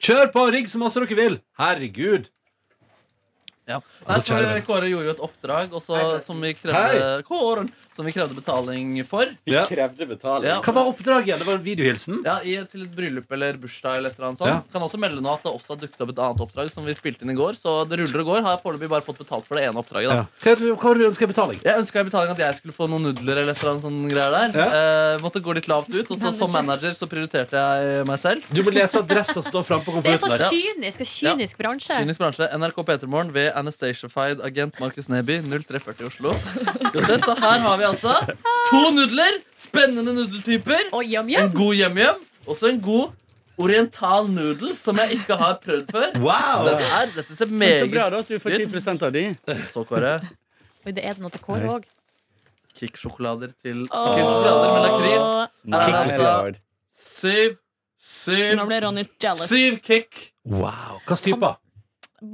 Kjør på, rigg så masse dere vil. Herregud.
Ja.
Altså,
Nei,
kjære
for Kåre gjorde jo et oppdrag også, som, vi
Hei.
krevde, Kåren, som vi krevde betaling for.
Ja.
krevde betaling.
Ja.
Hva var oppdraget igjen? Det var en videohilsen?
Ja, i, Til et bryllup eller bursdag. eller et eller annet sånt
Ja.
Kan også melde nå at det også har dukket opp et annet oppdrag som vi spilte inn i går. Så det ruller og går. Har jeg foreløpig bare fått betalt for det ene oppdraget. da
Ja. Hva, er det- hva var det du ønska i betaling?
Jeg ønska i betaling at jeg skulle få noen nudler. eller et eller annet sånn greier der Eh, Måtte gå litt lavt ut. Og så som manager så prioriterte jeg meg selv.
Du må lese adressa som står framme på
Det er så kynisk. En kynisk bransje.
Kynisk bransje. NRK Petermorgen ved Anastatiafied agent Markus Neby, 0340 Oslo. Skal vi se, Så her har vi altså to nudler. Spennende nudeltyper. En god yum-yum. Og så en god oriental noodles som jeg ikke har prøvd før.
Wow!
Den er, dette ser
Men
meget
Så bra da at du får 10 av de.
Så, Kåre.
Oi, det er det noe til Kåre òg.
Kick-sjokolader til Kick-sjokolader med lakris. Her er det altså syv, syv
Nå ble Ronny jealous.
Syv kick.
Wow. Hva slags typer?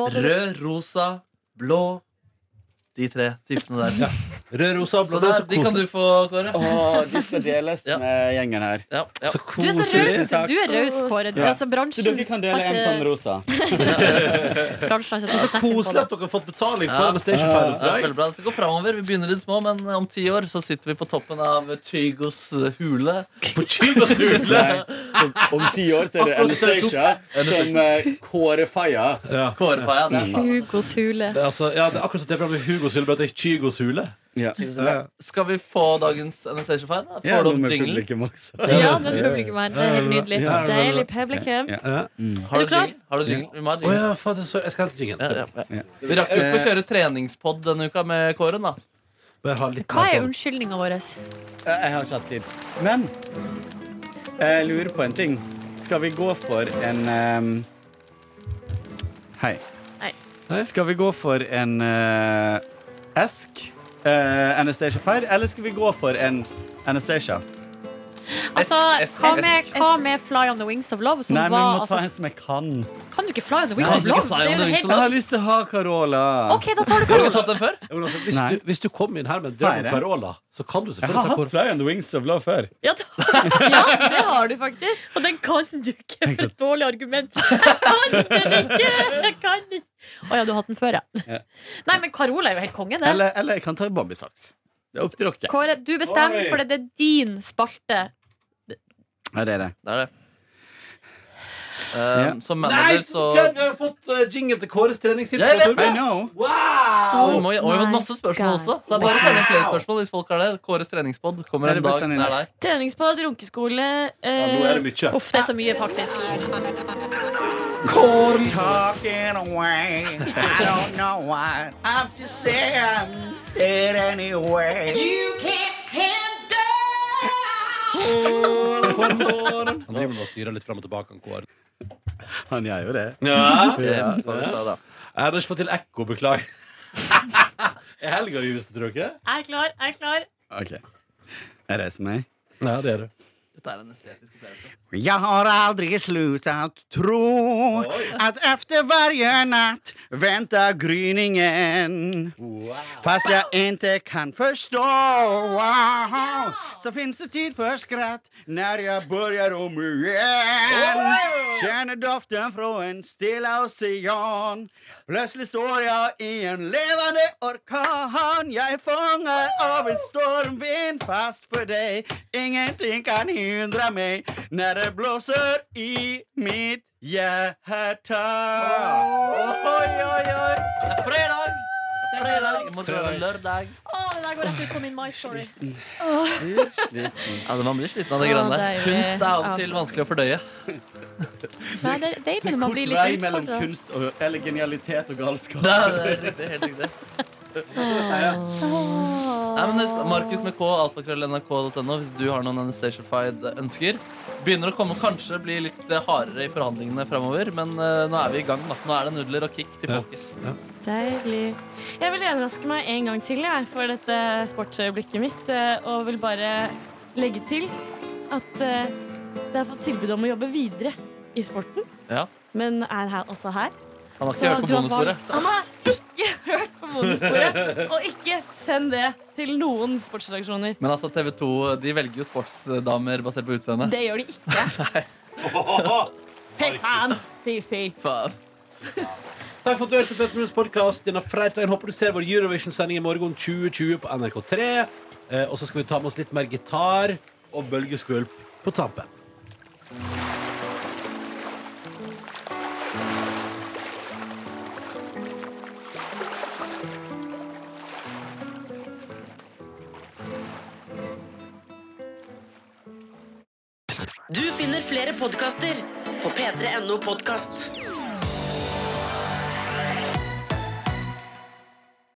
Rød, rosa, blå. De tre typene der.
Rød, rosa, blå.
Så
Det er
der,
så
de kan
koselig.
du få, Kåre.
Å, de skal deles med gjengen her.
Så
Du er så raus, du er raus, Kåre.
Ja.
Altså, bransjen
Så dere kan
har
dele en
ikke-
sånn rosa.
Bransjen har ikke
Det er så koselig at dere har fått betaling for Anastasia
Ja,
Fire-oppdrag.
veldig bra. Det går fremover. Vi begynner litt små, men om ti år så sitter vi på toppen av Chygos hule.
På Chygos
hule?
Om, om ti år så er det
Akkurat som det er to-
Anastacia som eh, Kåre Faja.
Kåre Faja, det er
Mm.
faen.
Hugos hule.
Det er, altså, ja, det er akkurat som det programmet Hugos hule ble til Kygos hule. Ja.
Skal vi få dagens Anastacia Fine? da?
Ja,
Får du
noe
opp
med
jinglen?
publikum også.
Ja, den publikum her. Det er helt nydelig.
Ja, det er bra.
Deilig publikum.
Har
Er du
du
klar?
jingle? Har du jingle? Vi må ha
Å
jingle.
ja, fader, sorry, jeg skal hente jingen.
Vi rakk jo ikke
Eh.
å kjøre treningspod denne uka med Kåren, da.
Bare ha litt
Hva
mer
er
sånn.
unnskyldninga vår?
Eh, Jeg har ikke hatt tid. Men jeg lurer på en ting. Skal vi gå for en ehm, Hei.
Hei.
Skal vi gå for en eh, Esk? eh, Anastacia Fair? Eller skal vi gå for en Anastacia?
Altså,
S, S,
hva
S.
med, hva med Fly on the Wings of Love? Som
Nei, men vi
var,
må
altså,
ta en som jeg kan.
kan du ikke Fly on the Wings
Nei,
of
ikke
Love?
Fly
Det er
on
jo
the
det
Wings of
helt-
Love. Jeg har lyst til å ha Carola.
OK, da tar du Carola.
den før?
Jo, men altså, hvis,
Nei.
du, hvis du kom inn her med en drøm om
Nei, det-
Carola, så kan du
Jeg
selvfølgelig
har
ta
hatt
Carola.
Fly on the Wings of Love før.
Ja, det har du faktisk. Og den kan du ikke. Det er et dårlig argument. Jeg kan den ikke! Jeg kan den ikke. Å ja, du har hatt den før, ja.
Ja.
Nei, men Carola er jo helt konge, det.
Eller, eller jeg kan ta Bobbysocks. Det er opp til dere.
Kåre, du bestemmer,
Oi.
for det er din spalte.
Ja, det er det.
Det er det.
Ja.
Um, Som
Nei,
manager, så
Ken, vi har fått eh, jingle til Kåres treningstips.
Jeg vet
fra
det.
Torben.
I know.
Wow!
Og vi må- og vi har fått masse
Oh
spørsmål også. Så det er bare å sende inn flere
Wow.
spørsmål hvis folk har det. Kåres treningspod kommer
Bare
en dag
send inn.
nær deg.
Treningspad, runkeskole eh,
Nå er det mye.
Uff, det er så mye, faktisk.
Corn
Talking away, I don't know what I'm to say. I'm said anyway. You can't
Han driver med å styre litt fram og tilbake, han Kåre.
Han gjør jo det.
Ja.
Ja.
Jeg har ikke fått til ekko, beklager. Er helga just, tror du ikke?
Jeg er klar, jeg er klar.
Ok. Jeg reiser meg.
Ja, det er du.
Dette er en estetisk opplevelse.
Jag har aldrig slutat tro att efter varje natt väntar gryningen. Fast jag inte kan förstå. Wow. Så finns det tid för skratt när jag börjar om igen. Känner doften från en stilla ocean. Plötsligt står jag i en levande orkan. Jag är fångad av en stormvind fast för dig. Ingenting kan hindra mig när det blåser i mitt hjärta.
Oi, oi, oi! Det er fredag! Det er fredag. I morgen er det lørdag.
Å, det der går rett ut på min My Story.
Ja, det- Man blir sliten av det grønne
Å,
der.
deilig.
Kunst er av og til
Avslappende.
vanskelig å fordøye.
Nei, det er deilig når man blir
vei
litt
mellom
utfordra.
kunst og, eller genialitet og galskap.
Det er, det er riktig, helt riktig. Nei, men husk, Markus med K, alfakrøll.nrk.no, hvis du har noen Anastacia-fied ønsker. Begynner å komme kanskje bli litt eh, hardere i forhandlingene fremover, men eh, nå er vi i gang. da. Nå er det nudler og kick til folket.
Deilig. Jeg vil gjenraske meg en gang til jeg, for dette sportsøyeblikket mitt, eh, og vil bare legge til at eh, det har fått tilbud om å jobbe videre i sporten,
Ja.
men er her, altså her.
Han har
Så
ikke hørt på
du har
bonussporet.
Han har ikke hørt på bonussporet, og ikke send det til noen sportsredaksjoner.
Men altså, TV 2 de velger jo sportsdamer basert på utseende.
Det gjør de ikke. Fy faen! Fy, fy.
Faen.
Takk for at du hørte Petter Morgens podcast denne fredagen. Håper du ser vår Eurovision-sending i morgen 2020 på NRK3. Eh, og så skal vi ta med oss litt mer gitar og bølgeskvulp på tampen.
Du finner flere podkaster på p3.no podkast.